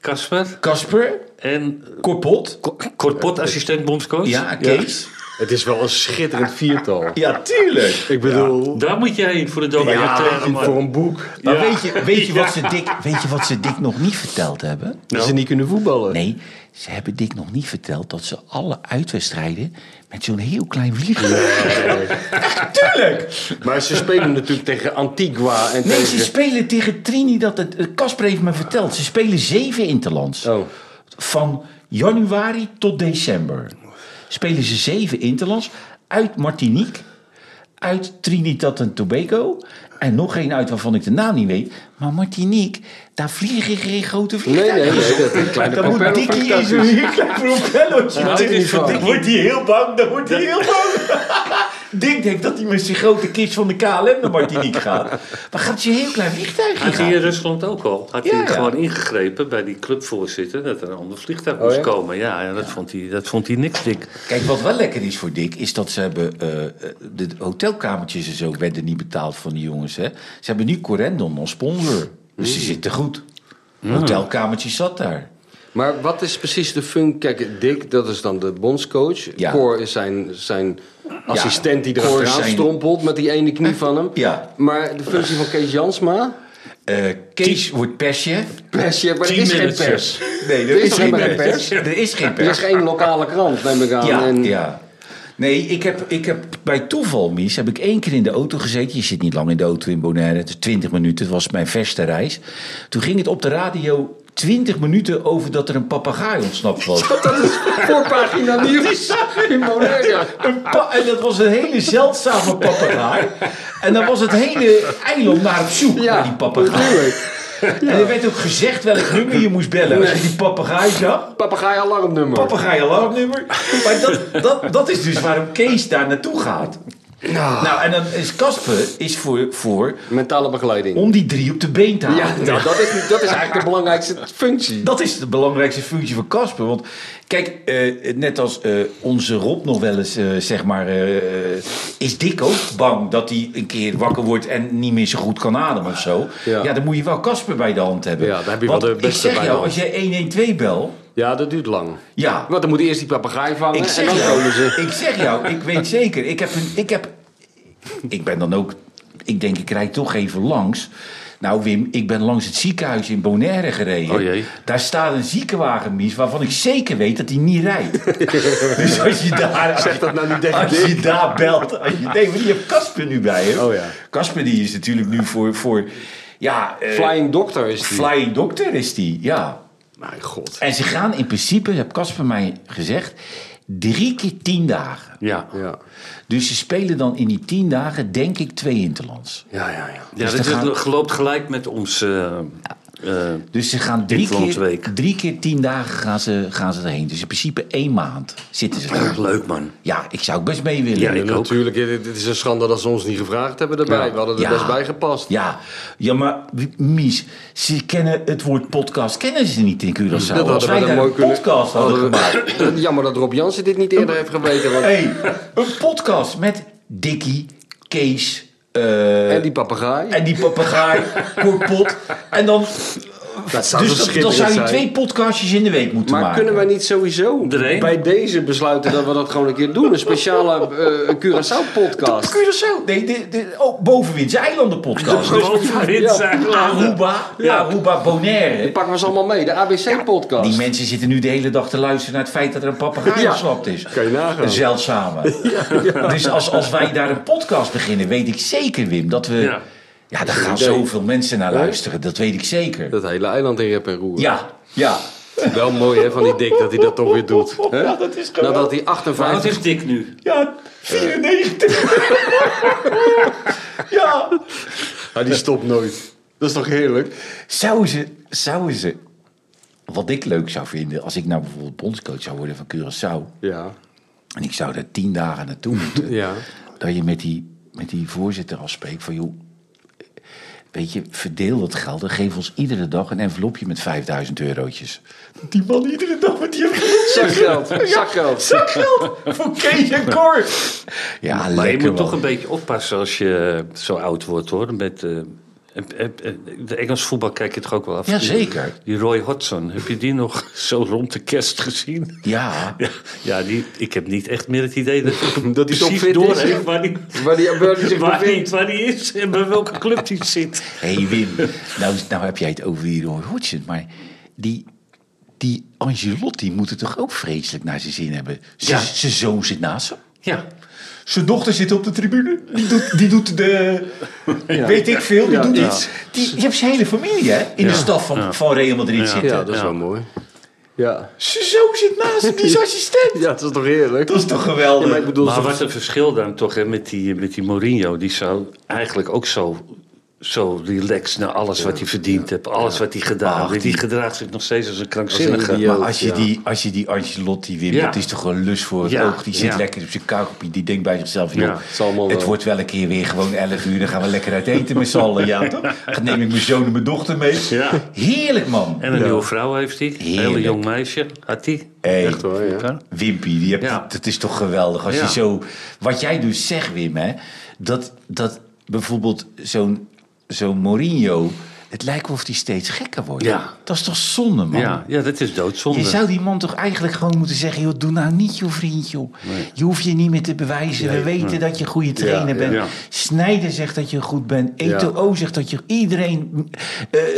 S3: Casper
S4: Kasper,
S3: en
S4: Korpot,
S3: Kortpot, assistent bondscoach.
S4: ja, Kees.
S2: Het is wel een schitterend viertal.
S4: Ja, tuurlijk.
S2: Ik bedoel,
S3: Daar moet jij heen voor de documentaire. man.
S2: voor een boek.
S4: Maar
S3: Ja.
S4: weet, je, weet, je wat ze Dick, weet je wat ze Dick nog niet verteld hebben?
S2: Dat ze niet kunnen voetballen.
S4: Nee, ze hebben Dick nog niet verteld dat ze alle uitwedstrijden met zo'n heel klein vliegtuig. Tuurlijk!
S2: Maar ze spelen natuurlijk tegen Antigua en
S4: Nee, ze
S2: tegen...
S4: spelen tegen Trinidad. en- eh, Casper heeft me verteld. Ze spelen zeven interlands.
S2: Oh.
S4: Van januari tot december. Spelen ze zeven interlands uit Martinique, uit Trinidad en Tobago. En nog één uit waarvan ik de naam niet weet. Maar Martinique, daar vliegen geen grote
S2: Nee,
S4: vliegtuigen.
S2: nee, nee. Dat een kleine
S4: Dan moet
S2: propeller
S4: Dickie
S2: van
S4: in zo'n heel klein propellertje.
S2: Nou, dit is van-
S4: dan wordt hij heel bang, dan wordt hij heel bang. Dick denkt dat hij met zijn grote kist van de KLM naar Martinique gaat. Maar gaat hij een heel klein vliegtuigje
S3: Had hij in
S4: gaan?
S3: Rusland ook al. Had
S4: Ja,
S3: hij
S4: ja.
S3: gewoon ingegrepen bij die clubvoorzitter dat er een ander vliegtuig moest
S2: ja?
S3: komen. Ja, ja, dat, Vond hij, dat vond hij niks dik.
S4: Kijk, wat wel lekker is voor Dick, is dat ze hebben... eh, eh, de hotelkamertjes en zo werden niet betaald van die jongens. Hè. Ze hebben nu Corendon als sponsor. Dus ze zitten goed. Hotelkamertje zat daar.
S2: Maar wat is precies de functie? Kijk, Dick, dat is dan de bondscoach.
S4: Ja.
S2: Cor is zijn, zijn assistent die er
S4: Cor is
S2: achteraan
S4: zijn-
S2: strompelt met die ene knie van hem.
S4: Ja.
S2: Maar de functie van Kees Jansma?
S4: Eh, Kees wordt persje.
S2: Pers, je- maar er is geen
S3: Teammanager.
S2: pers.
S4: Nee,
S2: Er is helemaal geen pers.
S4: Er is geen
S2: Er
S4: pers.
S2: is geen lokale krant, neem ik aan.
S4: Ja,
S2: en
S4: ja. Nee, ik heb, ik heb bij toeval, Mies, heb ik één keer in de auto gezeten. Je zit niet lang in de auto in Bonaire. Het is 20 minuten. Het was mijn verste reis. Toen ging het op de radio 20 minuten over dat er een papagaai ontsnapt was.
S2: Dat is voorpagina nieuws in Bonaire.
S4: Een pa- en dat was een hele zeldzame papagaai. En dan was het hele eiland naar op zoek naar die papagaai.
S2: natuurlijk.
S4: En er werd ook gezegd welk nummer je moest bellen als je die papagaai zag.
S2: Papegaai alarmnummer.
S4: Papegaai alarmnummer. Maar dat, dat, dat is dus waarom Kees daar naartoe gaat. Nou, en dan is Casper is voor, voor
S2: Mentale begeleiding.
S4: om die drie op de been te
S2: Ja,
S4: houden.
S2: nou, dat, is, dat is eigenlijk de belangrijkste functie.
S4: Dat is de belangrijkste functie van Casper. Want kijk, eh, net als eh, onze Rob nog wel eens, eh, zeg maar, eh, is Dick ook bang dat hij een keer wakker wordt en niet meer zo goed kan ademen of zo. Ja,
S2: Ja.
S4: dan moet je wel Casper bij de hand hebben.
S2: Ja, daar heb je
S4: Want
S2: wel de beste
S4: ik zeg
S2: bij de
S4: jou,
S2: hand.
S4: als jij 112 belt,
S2: Ja, dat duurt lang.
S4: ja,
S2: Want dan moet eerst die papegaai vangen
S4: Ik
S2: Oh, en
S4: zeg,
S2: dan
S4: jou,
S2: komen ze.
S4: ik zeg jou, ik weet zeker. Ik heb, een, ik heb. Ik ben dan ook. Ik denk, ik rijd toch even langs. Nou, Wim, ik ben langs het ziekenhuis in Bonaire gereden.
S3: Oh jee.
S4: Daar staat een ziekenwagen, Mies, waarvan ik zeker weet dat hij niet rijdt. dus als je daar. als je-
S2: dat nou niet tegen
S4: Als je daar belt. Als je, nee, maar je hebt Casper nu bij hem.
S2: Oh ja.
S4: Casper, die is natuurlijk nu voor. voor ja, eh,
S2: Flying Doctor is die.
S4: flying doctor is die, ja.
S2: Mijn god.
S4: En ze gaan in principe, heb Casper mij gezegd, drie keer tien dagen.
S3: Ja, ja.
S2: Ja,
S4: Dus ze spelen dan in die tien dagen, denk ik, twee interlands.
S2: ja, ja. ja.
S4: Dus
S3: dat
S4: dan gaan-
S3: is- geloopt gelijk met ons. eh, eh,
S4: Dus ze gaan drie keer,
S3: Interlandsweek.
S4: drie keer tien dagen gaan ze, gaan ze erheen. Dus in principe één maand zitten ze er.
S3: leuk man.
S4: Ja, ik zou ook best mee willen.
S3: Ja, ik
S2: En
S3: ook.
S2: natuurlijk, het het is een schande dat ze ons niet gevraagd hebben daarbij. We hadden er
S4: Ja.
S2: best bij gepast.
S4: Ja, ja maar Mies, ze kennen het woord podcast kennen ze niet in Curaçao. Als wij
S2: we
S4: daar
S2: dan
S4: een podcast hadden
S2: hadden we-
S4: gemaakt.
S2: Jammer dat Rob Jansen dit niet eerder heeft geweten. Want...
S4: hey, een podcast met Dickie, Kees... eh,
S2: En die papegaai.
S4: En die papegaai, korpot. En dan.
S2: Dat zou
S4: Dus dan- dan
S2: verschitterend
S4: zou je
S2: zijn.
S4: twee podcastjes in de week moeten
S2: Maar
S4: maken.
S2: kunnen wij niet sowieso
S3: Er één?
S2: bij deze besluiten dat we dat gewoon een keer doen? Een speciale eh Curaçao-podcast.
S4: Curaçao. Nee, de, de, oh, Bovenwindse eilanden podcast. Dus
S3: Bovenin zijn laten.
S4: Aruba, Aruba, Bonaire.
S2: Pakken we ze allemaal mee, de ABC-podcast.
S4: Die mensen zitten nu de hele dag te luisteren naar het feit dat er een papegaai
S2: Ja.
S4: ontsnapt is.
S2: Kan je nagaan.
S4: Een zeldzame. Dus als, als wij daar een podcast beginnen, weet ik zeker, Wim, dat we. Ja,
S3: Ja.
S4: daar gaan
S2: idee.
S4: zoveel mensen naar luisteren. Dat weet ik zeker.
S2: Dat hele eiland in rep en roer.
S4: Ja, ja.
S2: Wel mooi hè, van die dik dat hij dat toch weer doet. Hè? Nou,
S4: Ja, dat is geweldig.
S2: Nadat hij
S3: Maar wat
S2: 58...
S3: is Dick nu?
S4: Ja, 94. ja.
S2: Ah, die stopt nooit. Dat is toch heerlijk?
S4: Zouden ze, zouden ze... Wat ik leuk zou vinden, als ik nou bijvoorbeeld bondscoach zou worden van Curaçao...
S2: Ja.
S4: en ik zou daar tien dagen naartoe moeten...
S2: Ja.
S4: dat je met die, met die voorzitter afspreekt van... joh, weet je, verdeel dat geld en geef ons iedere dag een envelopje met 5000 eurotjes. Die man iedere dag met die envelopje.
S2: Zakgeld, zakgeld.
S4: Zakgeld voor Kees en Cor. Ja,
S3: Maar je
S4: lekker
S3: moet toch
S4: man.
S3: een beetje oppassen als je zo oud wordt hoor. Met, eh, En- en- en De Engels voetbal kijk je toch ook wel af?
S4: Jazeker.
S3: Die Roy Hodgson, heb je die nog zo rond de kerst gezien?
S4: Ja.
S3: Ja, ja die, ik heb niet echt meer het idee dat hij
S2: Dat hij
S3: precies
S2: topfit is.
S3: door heeft waar die-
S2: Waar die, waar die zich
S3: waar hij
S2: bevindt.
S3: waar die is en bij welke club hij zit.
S4: Hé hey Wim, nou, nou heb jij het over die Roy Hodgson, maar die, die Angelotti moet het toch ook vreselijk naar zijn zin hebben? Zijn
S3: Ja.
S4: zijn zoon zit naast hem.
S3: Ja,
S4: Zijn dochter zit op de tribune. Die doet, die doet de. Weet ik veel, die doet iets. Die, je hebt zijn hele familie, hè? In de staf van, van Real Madrid zitten.
S2: Ja, dat is wel mooi. Ja.
S4: Zijn zoon zit naast hem, die is assistent.
S2: ja, dat is toch heerlijk?
S4: Dat is toch geweldig?
S2: maar ik bedoel,
S3: maar
S2: zo-
S3: wat een verschil dan toch hè, met, die, met die Mourinho. Die zou eigenlijk ook zo, zo relaxed naar alles wat hij verdiend heeft. Alles wat hij gedaan
S4: Ach,
S3: heeft. Die
S4: die-
S3: gedraagt zich nog steeds als een
S2: Als
S3: krankzinnige.
S2: een idioot.
S4: Maar als je,
S2: Ja.
S4: die, als je die Ancelotti weer,
S3: Ja.
S4: dat is toch een lust voor het
S3: Ja,
S4: oog. Die zit
S3: ja.
S4: lekker op zijn kaukopie, die denkt bij zichzelf, joh,
S3: Ja,
S2: het zal allemaal
S4: het
S3: eh,
S2: wel.
S4: wordt wel een keer weer gewoon 11 uur, dan gaan we lekker uit eten met z'n allen. Ja, toch? Dan neem ik mijn zoon en mijn dochter mee.
S3: Ja.
S4: Heerlijk, man.
S3: En een nieuwe vrouw heeft hij. Een hele
S4: Heerlijk.
S3: jong meisje had hij.
S4: Hey,
S2: hoor, ja.
S4: Wimpy, die hebt,
S3: Ja.
S4: dat is toch geweldig. Als
S3: Ja.
S4: je zo, wat jij dus zegt, Wim, hè, dat, dat bijvoorbeeld zo'n zo'n Mourinho, het lijkt wel of die steeds gekker wordt.
S3: Ja.
S4: Dat is toch zonde, man?
S3: Ja, ja, dat is doodzonde.
S4: Je zou die man toch eigenlijk gewoon moeten zeggen: joh, doe nou niet, joh, vriend, joh. Je hoeft je niet meer te bewijzen. We weten dat je een goede trainer
S2: ja.
S4: bent.
S3: Ja.
S4: Snijder zegt dat je goed bent. Eto'o zegt dat je iedereen.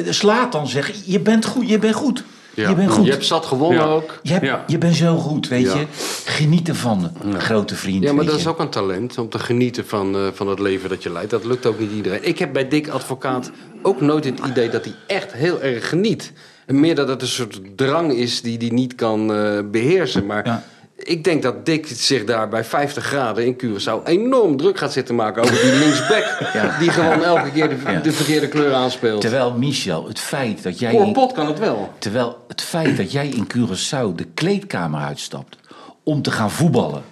S4: slaat dan zegt: je bent goed. Je bent goed.
S2: Ja.
S4: Je bent goed.
S2: Je hebt zat gewonnen
S3: Ja.
S2: ook.
S4: Je, hebt-
S3: Ja.
S4: je bent zo goed, weet
S2: Ja.
S4: je. Geniet ervan, grote vriend.
S2: Ja, maar
S4: weet
S2: dat is
S4: je.
S2: ook een talent om te genieten van, eh, van het leven dat je leidt. Dat lukt ook niet iedereen. Ik heb bij Dick Advocaat ook nooit het idee dat hij echt heel erg geniet. En meer dat het een soort drang is die hij niet kan eh, beheersen. Maar
S4: Ja.
S2: ik denk dat Dick zich daar bij 50 graden in Curaçao enorm druk gaat zitten maken over die linksback.
S4: Ja.
S2: Die gewoon elke keer de,
S4: Ja.
S2: de verkeerde kleur aanspeelt.
S4: Terwijl Michel, het feit dat jij. in-
S2: Korpot kan het wel.
S4: Terwijl het feit dat jij in Curaçao de kleedkamer uitstapt om te gaan voetballen,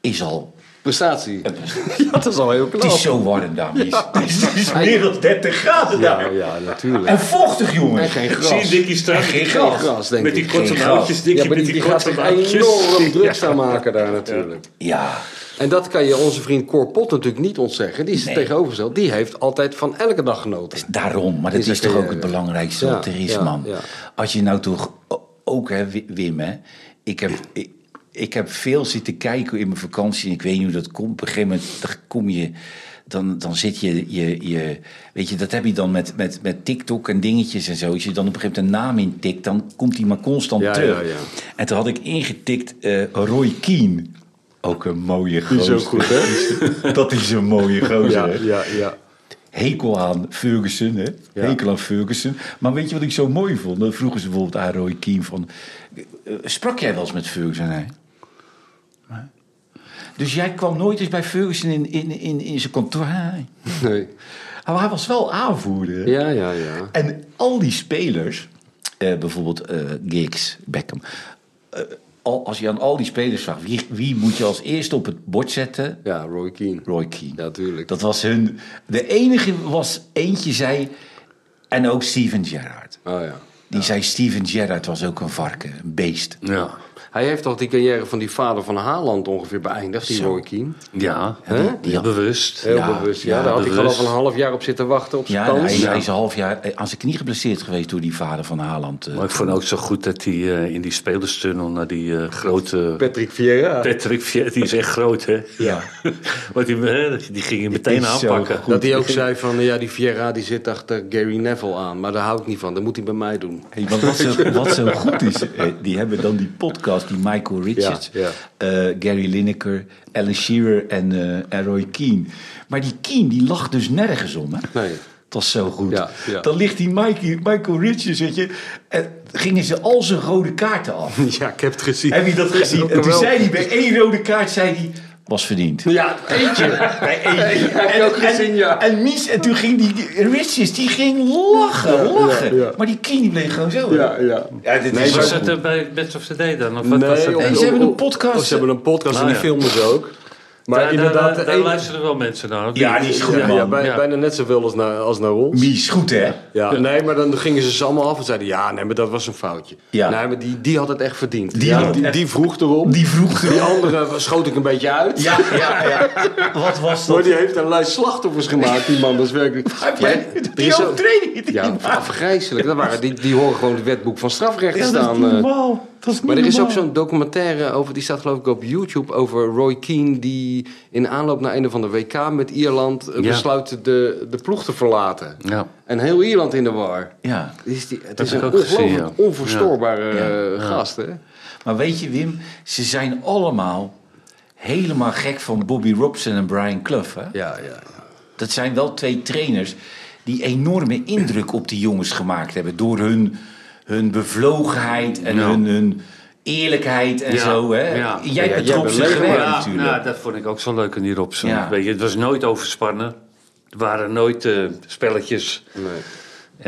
S4: is al
S2: Prestatie. Ja, dat is al heel knap.
S4: Het is zo warm, dames. Het, is, het is meer dan 30 graden
S2: Ja,
S4: daar.
S2: ja, natuurlijk.
S4: En vochtig, jongens.
S2: En geen
S3: Zie je
S2: gras.
S3: Dickie staan?
S4: Geen
S2: Geen
S4: gras.
S2: gras, denk
S3: Met die
S2: ik.
S3: korte
S4: Geen
S3: mouwtjes,
S4: gras.
S3: Dickie,
S2: Ja, maar
S3: met
S2: die,
S3: die,
S2: die gaat
S3: korte
S2: zich
S3: mouwtjes.
S2: enorm druk staan maken daar natuurlijk.
S4: Ja.
S2: En dat kan je onze vriend Cor Pot natuurlijk niet ontzeggen. Die is er
S4: Nee.
S2: tegenovergesteld. Die heeft altijd van elke dag genoten.
S4: Daarom, maar dat
S2: Is
S4: is,
S2: dat
S4: toch
S2: je-
S4: ook het belangrijkste
S2: Ja,
S4: wat er is,
S2: ja,
S4: man.
S2: ja.
S4: Als je nou toch o- ook, hè, Wi- Wim, hè, ik heb. Ik, ik heb veel zitten kijken in mijn vakantie. en Ik weet niet hoe dat komt. Op een gegeven moment dan kom je. Dan, dan zit je, je, je. Weet je, dat heb je dan met, met, met TikTok en dingetjes en zo. Als je dan op een gegeven moment een naam intikt, dan komt die maar constant
S2: Ja,
S4: terug.
S2: ja, ja.
S4: En toen had ik ingetikt eh, Roy Keane. Ook een mooie gozer. hè? dat is een mooie gozer. hè?
S2: ja, ja.
S4: hekel aan Ferguson, hè? Hekel aan Ferguson. Maar weet je wat ik zo mooi vond? Dan vroegen ze bijvoorbeeld aan Roy Keane van... eh, eh, Sprak jij wel eens met Ferguson, hè? Nee. Dus jij kwam nooit eens bij Ferguson in, in, in, in zijn kantoor. Hij,
S2: Nee.
S4: hij was wel aanvoerder. hè?
S2: Ja, ja, ja.
S4: En al die spelers, eh, bijvoorbeeld eh Giggs, Beckham. eh, al, als je aan al die spelers vraagt, wie, wie moet je als eerste op het bord zetten?
S2: Ja, Roy Keane.
S4: Roy Keane.
S2: Ja, tuurlijk.
S4: Dat was hun... De enige was... Eentje zei... En ook Steven Gerrard.
S2: Oh, ja.
S4: Die zei Steven Gerrard was ook een varken. Een beest.
S3: Ja,
S2: Hij heeft toch die carrière van die vader van Haaland ongeveer beëindigd, die Roy Keane.
S3: ja.
S4: Ja.
S3: bewust.
S2: Heel
S4: Ja,
S2: bewust. Ja,
S4: ja,
S2: daar had ik
S3: bewust.
S2: al een half jaar op zitten wachten op zijn
S4: Ja,
S2: kans.
S4: hij, hij is een half jaar eh, aan zijn knie geblesseerd geweest... door die vader van Haaland. eh.
S3: Maar ik vond ook zo goed dat hij eh, in die spelerstunnel naar die eh, grote...
S2: Patrick Vieira.
S3: Patrick Viet, die is echt groot, hè?
S4: Ja.
S3: Want die, hè, die ging je meteen
S4: is zo
S3: aanpakken.
S4: goed.
S2: Dat hij ook zei van, ja, die Vieira die zit achter Gary Neville aan. Maar daar hou ik niet van. Dat moet hij bij mij doen.
S4: Hey, want wat, zo, wat zo goed is, eh, die hebben dan die podcast, die Michael Richards,
S2: Ja,
S4: eh, Gary Lineker, Alan Shearer en, eh, en Roy Keane. Maar die Keane, die lacht dus nergens om, hè?
S2: Nee.
S4: Dat is zo goed.
S2: Ja, ja.
S4: Dan ligt die Mikey, Michael Richards, weet je, en gingen ze al zijn rode kaarten af.
S2: Ja, ik heb het gezien.
S4: Heb je dat gezien? En toen zei hij bij één rode kaart, zei hij, was verdiend.
S2: Ja, eentje.
S4: Bij één.
S2: heb ik ook gezien, ja.
S4: En, Mies, en toen ging die Richards, die ging lachen, lachen.
S2: ja.
S4: Maar die Keane die bleef gewoon zo.
S2: Ja, ja.
S4: Ja, dit
S2: Nee,
S4: is
S2: maar
S3: Was
S4: zo
S3: dat er bij Best of the Day dan? Of wat was dat?
S2: op-
S4: ze hebben een
S2: op-
S4: podcast.
S2: Oh, ze hebben een podcast en
S3: Ah,
S2: die
S3: ja.
S2: filmen ze ook.
S3: Maar
S2: Maar
S3: daar,
S2: inderdaad,
S3: daar, daar
S2: één-
S3: luisteren wel mensen naar. of
S4: Ja,
S3: niet?
S4: die is goed,
S2: ja,
S4: man.
S2: ja, bij-
S3: Ja.
S2: bijna net zoveel als naar, als naar ons.
S4: Die is goed, hè?
S2: Ja, nee, maar dan gingen ze ze allemaal af en zeiden... ja, nee, maar dat was een foutje.
S4: Ja.
S2: Nee, maar die, die had het echt verdiend.
S4: Die
S2: Ja,
S4: had het
S2: die,
S4: echt-
S2: die vroeg erop. Die,
S4: Die vroeg
S2: andere schoot ik een beetje uit.
S4: Ja, ja, ja. Wat was
S2: Maar
S4: dat?
S2: die heeft een lijst slachtoffers gemaakt, die man. Dat is werkelijk...
S4: Heb
S2: Maar
S4: jij
S2: er is
S4: die
S2: zo-
S4: overtreding? die
S2: Ja,
S4: die maakt?
S2: afgrijzelijk. Dat waren, die, die horen gewoon het wetboek van strafrecht
S4: Ja, dat is
S2: staan.
S4: niet
S2: eh.
S4: normaal. Dat is niet
S2: Maar er is ook zo'n
S4: normaal.
S2: documentaire over, die staat geloof ik op YouTube, over Roy Keane die in aanloop naar een van de WK met Ierland eh,
S3: Ja.
S2: besluit de, de ploeg te verlaten.
S3: Ja.
S2: En heel Ierland in de war.
S4: Ja,
S2: Het is, die, het
S3: heb
S2: is
S3: ik
S2: een
S3: ook gezien,
S2: ongelooflijk
S3: ja.
S2: onverstoorbare eh, gast, hè?
S4: maar weet je, Wim, ze zijn allemaal helemaal gek van Bobby Robson en Brian Clough. Hè?
S2: Ja, ja.
S4: Dat zijn wel twee trainers die enorme indruk op die jongens gemaakt hebben. Door hun, hun bevlogenheid en
S3: Ja.
S4: hun, hun eerlijkheid en
S3: Ja,
S4: zo. Hè?
S3: ja.
S4: Jij
S2: Ja,
S4: bent
S2: jij
S4: erop
S2: bent
S4: zijn
S2: leuk,
S4: gewerkt
S3: Ja,
S4: natuurlijk.
S3: nou, dat vond ik ook zo leuk aan die Robson.
S4: Ja.
S3: Weet je, het was nooit overspannen. Er waren nooit eh, spelletjes.
S2: Nee.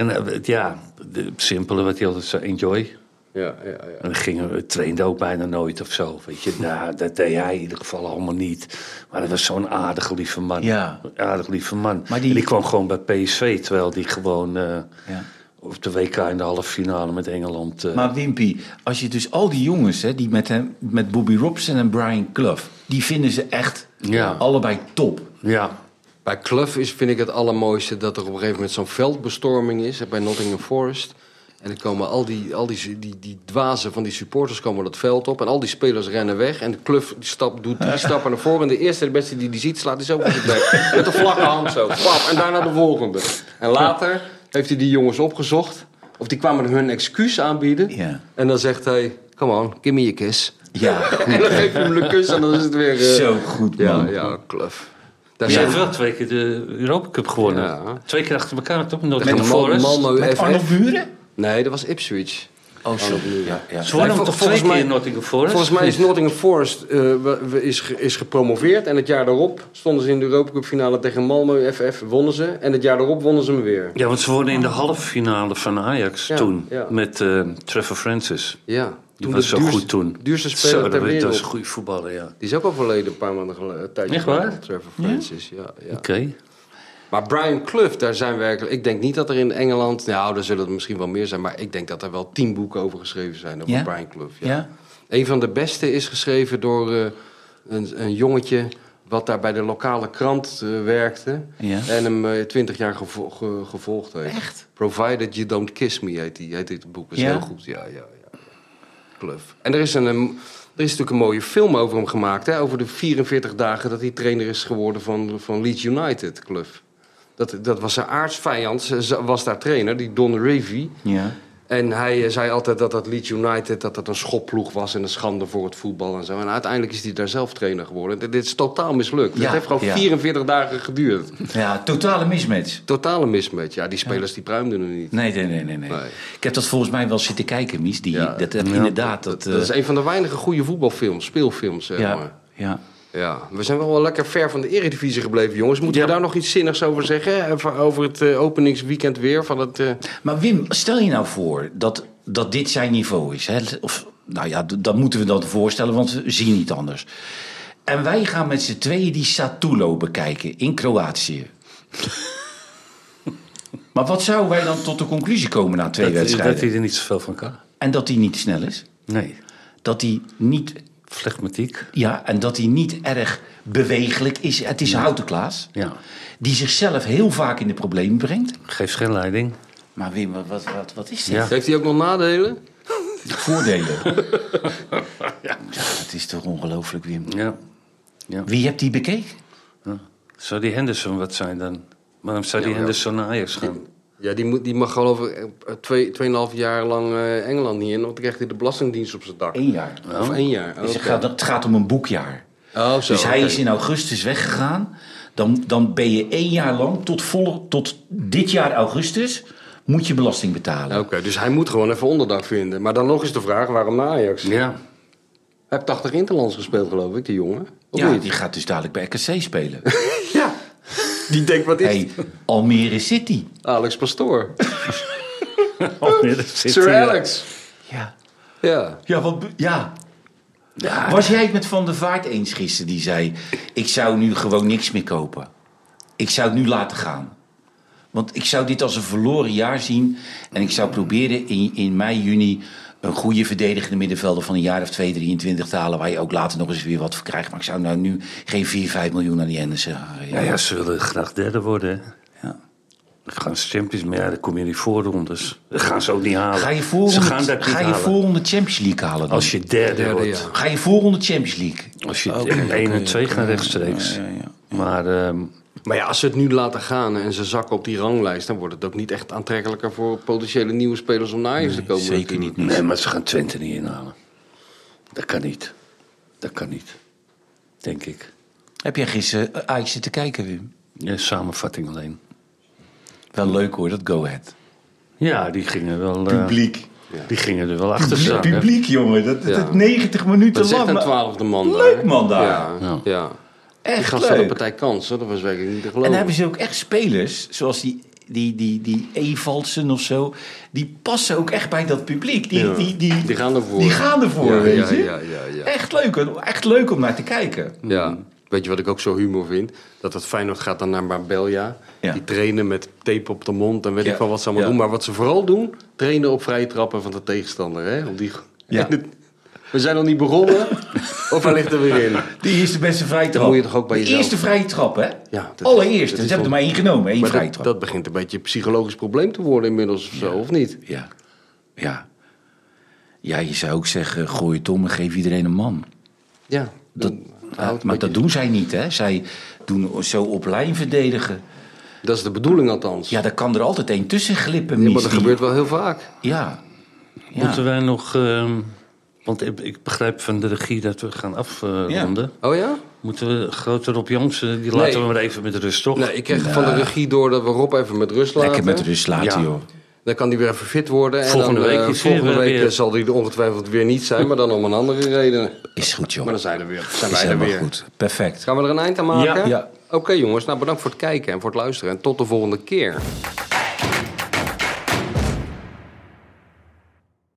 S3: En eh, ja, de het simpele wat hij altijd zei, enjoy.
S2: Ja, ja, ja.
S3: En we gingen, we trainden ook bijna nooit of zo, weet je. Nou, dat deed hij in ieder geval allemaal niet. Maar dat was zo'n aardig lieve man.
S4: Ja.
S3: Aardig lieve man.
S4: Maar
S3: Maar
S4: die-
S3: die... En die kwam gewoon bij PSV, terwijl die gewoon eh,
S4: Ja.
S3: op de WK in de halve finale met Engeland... eh,
S4: Maar Wimpy, als je dus al die jongens, hè, die met, hem, met Bobby Robson en Brian Clough, die vinden ze echt
S3: Ja.
S4: allebei top.
S3: Ja,
S2: Bij Clough is, vind ik het allermooiste dat er op een gegeven moment zo'n veldbestorming is hè, bij Nottingham Forest. En dan komen al die, al die, die, die dwazen van die supporters komen dat veld op. En al die spelers rennen weg. En Clough die stap, doet drie stappen naar voren. En de eerste de beste die die ziet slaat hij zo op de bek. Met een vlakke hand zo. Pap, en daarna de volgende. En later heeft hij die jongens opgezocht. Of die kwamen hun excuus aanbieden.
S4: Ja.
S2: En dan zegt hij, come on, give me a kiss.
S4: Ja,
S2: En dan geeft hij hem een kus en dan is het weer... eh,
S4: zo goed
S2: Ja,
S4: man.
S2: ja, Clough. Daar
S3: Ze
S2: zit
S3: heeft wel twee keer de Europa Cup gewonnen.
S2: Ja.
S3: Twee keer achter elkaar, toch? Nottingham
S2: Tegen Mal-
S3: Forest.
S2: Malmo
S4: Met
S2: FF.
S4: Arno Buren?
S2: Nee, dat was Ipswich.
S4: Oh, sorry. Ja, ja.
S3: Ze wonnen
S2: Nee,
S3: hem
S2: vol-
S3: toch twee
S2: volgens
S3: keer
S2: mij-
S3: in Nottingham Forest?
S2: Volgens mij is Nottingham Forest eh, we- we- is, ge- is gepromoveerd. En het jaar daarop stonden ze in de Europa Cup finale tegen Malmö FF. Wonnen ze. En het jaar daarop wonnen ze hem weer.
S3: Ja, want ze wonnen in de halve finale van Ajax
S2: Ja,
S3: toen.
S2: ja.
S3: Met eh, Trevor Francis.
S2: Ja.
S3: Die was
S2: de
S3: zo
S2: duurste-
S3: goed toen.
S2: Duurste
S3: Zo,
S2: speler
S3: dat
S2: ter
S3: weet- dat
S2: wereld.
S3: was een goede voetballer, ja. Oké.
S2: Die is ook al verleden een paar maanden geleden. een tijdje
S3: Echt waar?
S2: geleden, Trevor Francis, ja. ja.
S3: Okay.
S2: Maar Brian Clough, daar zijn werkelijk... Ik denk niet dat er in Engeland... Nou, er zullen er misschien wel meer zijn. Maar ik denk dat er wel tien boeken over geschreven zijn. Over
S4: Ja?
S2: Brian Clough. Ja.
S4: Ja?
S2: Een van de beste is geschreven door eh, een, een jongetje wat daar bij de lokale krant eh, werkte.
S4: Ja.
S2: En hem eh, twintig jaar gevo- ge- gevolgd heeft.
S4: Echt?
S2: Provided You Don't Kiss Me heet, die, heet dit boek. Is
S4: Ja?
S2: heel goed, ja, ja, ja. Kluf. En er is, een, een- er is natuurlijk een mooie film over hem gemaakt. Hè? Over de 44 dagen dat hij trainer is geworden van, van Leeds United, Kluf. Dat, dat was zijn aardsvijand, ze- was daar trainer, die Don Revie.
S4: Ja.
S2: En hij eh, zei altijd dat dat Leeds United dat dat een schopploeg was en een schande voor het voetbal en zo. En uiteindelijk is hij daar zelf trainer geworden. Dit, dit is totaal mislukt.
S4: Ja,
S2: dat heeft gewoon
S4: ja.
S2: 44 dagen geduurd.
S4: ja, totale mismatch.
S2: Totale mismatch. Ja, die spelers die pruimden er niet.
S4: Nee, nee, nee, nee, nee.
S2: Nee.
S4: Ik heb dat volgens mij wel zitten kijken, Mies. Die,
S2: Ja.
S4: dat, dat- inderdaad, dat... eh,
S2: Dat is eh, een van de weinige goede voetbalfilms, speelfilms zeg maar.
S4: ja, ja.
S2: Ja, we zijn wel wel lekker ver van de eredivisie gebleven, jongens. Moeten we daar nog iets zinnigs over zeggen? Even Over het eh, openingsweekend weer van het... eh,
S4: Maar Wim, stel je nou voor dat, dat dit zijn niveau is. Hè? Of, nou ja, d- dat moeten we dan voorstellen, want we zien niet anders. En wij gaan met z'n tweeën die Satulo bekijken in Kroatië. maar wat zouden wij dan tot de conclusie komen na twee
S3: Dat,
S4: wedstrijden?
S3: dat hij er niet zoveel van kan.
S4: En dat hij niet snel is.
S3: Nee.
S4: Dat hij niet,
S3: Flegmatiek.
S4: ja, en dat hij niet erg bewegelijk is. Het is Houten Klaas.
S3: Ja.
S4: Die zichzelf heel vaak in de problemen brengt.
S3: Geeft geen leiding.
S4: Maar Wim, wat, wat, wat, wat is dit?
S3: Ja.
S2: Heeft hij ook nog nadelen?
S4: voordelen. ja. het is toch ongelooflijk, Wim.
S3: Ja.
S4: Wie hebt die bekeken?
S3: ja. Zou die Henderson wat zijn dan? Waarom zou die
S2: Ja, ja.
S3: Henderson naar Ajax gaan?
S2: Ja, die, moet, die mag geloof ik eh, twee, tweeënhalf jaar lang eh, Engeland niet in. Want dan krijgt hij de belastingdienst op zijn dak.
S4: Eén jaar.
S2: Of één jaar.
S4: Dus het,
S2: oké.
S4: gaat, het gaat om een boekjaar.
S2: Oh, zo,
S4: dus hij
S2: oké.
S4: is in augustus weggegaan. Dan, dan ben je één jaar lang, tot, volle, tot dit jaar augustus, moet je belasting betalen.
S2: Oké, dus hij moet gewoon even onderdak vinden. Maar dan nog is de vraag, waarom naar Ajax?
S3: Ja.
S2: Hij heeft 80 interlands gespeeld, geloof ik, die jongen. Of
S4: Ja,
S2: niet?
S4: die gaat dus dadelijk bij RKC spelen.
S2: Ja. Die denkt, wat is
S4: hey, Almere City.
S2: Alex Pastoor.
S3: Oh, nee, dat zit
S2: Sir
S4: eh,
S3: hier.
S2: Alex.
S4: Ja.
S2: Ja.
S4: Ja, wat, ja. Was jij het met Van der Vaart eens gisteren die zei: Ik zou nu gewoon niks meer kopen. Ik zou het nu laten gaan. Want ik zou dit als een verloren jaar zien. En ik zou proberen in, in mei, juni een goede verdedigende middenvelder van een jaar of 2, 23 te halen. Waar je ook later nog eens weer wat voor krijgt. Maar ik zou nou nu geen 4, 5 miljoen aan die Henderson gaan.
S3: Ja, ja, ze willen graag derde worden. hè.
S4: Ja.
S3: Dan gaan ze Champions, maar ja, dan kom je in die voorrondes. Dat gaan ze ook niet halen.
S4: Ga je voor
S3: ze gaan dat niet
S4: ga je
S3: halen.
S4: voorronde Champions League halen? Dan?
S3: Als je derde,
S2: Derde,
S3: wordt.
S2: ja.
S4: Ga je voorronde Champions League?
S3: Als je 1 en 2 gaan rechtstreeks. Maar ehm,
S2: Maar ja, als ze het nu laten gaan en ze zakken op die ranglijst... dan wordt het ook niet echt aantrekkelijker voor potentiële nieuwe spelers om naar Ajax te komen.
S4: Zeker niet.
S3: nee, maar ze gaan Twente niet inhalen. Dat kan niet. Dat kan niet. Denk ik.
S4: Heb jij gisteren eh, Ajax zitten kijken, Wim?
S3: Ja, samenvatting alleen.
S4: Wel leuk hoor, dat Go Ahead.
S3: Ja, die gingen wel. eh, die gingen er wel achter staan. hè.
S4: Publiek, jongen. Dat,
S2: Ja.
S4: dat 90 minuten
S2: Dat is echt
S4: lang.
S2: een
S4: maar-
S2: twaalfde man
S4: Leuk
S2: daar.
S4: man daar.
S2: Ja,
S3: Ja.
S2: ja. Die
S4: Echt
S2: gast had een
S4: leuk.
S2: partij kans, hoor. dat was werkelijk niet te
S4: En
S2: geloven.
S4: dan hebben ze ook echt spelers, zoals die, die, die, die Evalsen of zo. Die passen ook echt bij dat publiek. Die,
S2: Ja.
S4: die, die,
S2: Die gaan ervoor.
S4: Die gaan ervoor,
S2: Ja,
S4: weet
S2: ja,
S4: je.
S2: ja, ja, ja.
S4: Echt, leuk, hoor. echt leuk om naar te kijken.
S2: Ja. Mm. Weet je wat ik ook zo humor vind? Dat het Feyenoord gaat dan naar Marbella.
S4: Ja.
S2: Die trainen met tape op de mond en weet
S4: Ja.
S2: ik van wat ze allemaal
S4: Ja.
S2: doen. Maar wat ze vooral doen, trainen op vrije trappen van de tegenstander. Hè? Om die...
S4: Ja.
S2: We zijn nog niet begonnen. of hij ligt er weer in.
S4: Die eerste beste vrije trap.
S2: moet je toch ook bij
S4: De
S2: jezelf-
S4: eerste vrije trap, hè?
S2: dat is- dat is
S4: Allereerst. Ze hebben
S2: wel-
S4: er maar één genomen, één
S2: Maar
S4: vrije
S2: dat,
S4: trap.
S2: dat begint een beetje een psychologisch probleem te worden inmiddels of zo, of niet?
S4: Ja. ja. Ja, je zou ook zeggen, gooi het om en geef iedereen een man.
S2: Ja.
S4: Dat,
S2: dan houdt
S4: ja,
S2: het een
S4: maar
S2: beetje-
S4: dat doen zij niet, hè? Zij doen zo op lijn verdedigen.
S2: dat is de bedoeling althans.
S4: Ja, daar kan er altijd één tussen glippen,
S2: Ja,
S4: mis.
S2: maar dat
S4: die-
S2: gebeurt wel heel vaak.
S4: Ja.
S3: Moeten
S4: ja.
S3: wij nog. ehm, want ik- ik begrijp van de regie dat we gaan afronden.
S2: Oh ja?
S3: Moeten we grote Rob Jansen, die laten
S2: Nee.
S3: we maar even met rust, toch?
S2: Nee, ik kreeg van de regie door dat we Rob even met rust laten.
S4: Lekker met rust laten,
S3: Ja.
S4: joh.
S2: Dan kan hij weer even fit worden. En
S3: Volgende
S2: dan, eh,
S3: week is hij
S2: volgende
S3: weer-
S2: week
S3: weer.
S2: zal hij er ongetwijfeld weer niet zijn, maar dan om een andere reden.
S4: Is goed, joh.
S2: Maar dan zijn, er weer, zijn wij
S4: is
S2: er
S4: helemaal
S2: weer.
S4: goed. Perfect.
S2: Gaan we er een eind aan maken?
S3: Ja.
S4: Ja.
S2: Oké jongens, nou bedankt voor het kijken en voor het luisteren. En tot de volgende keer.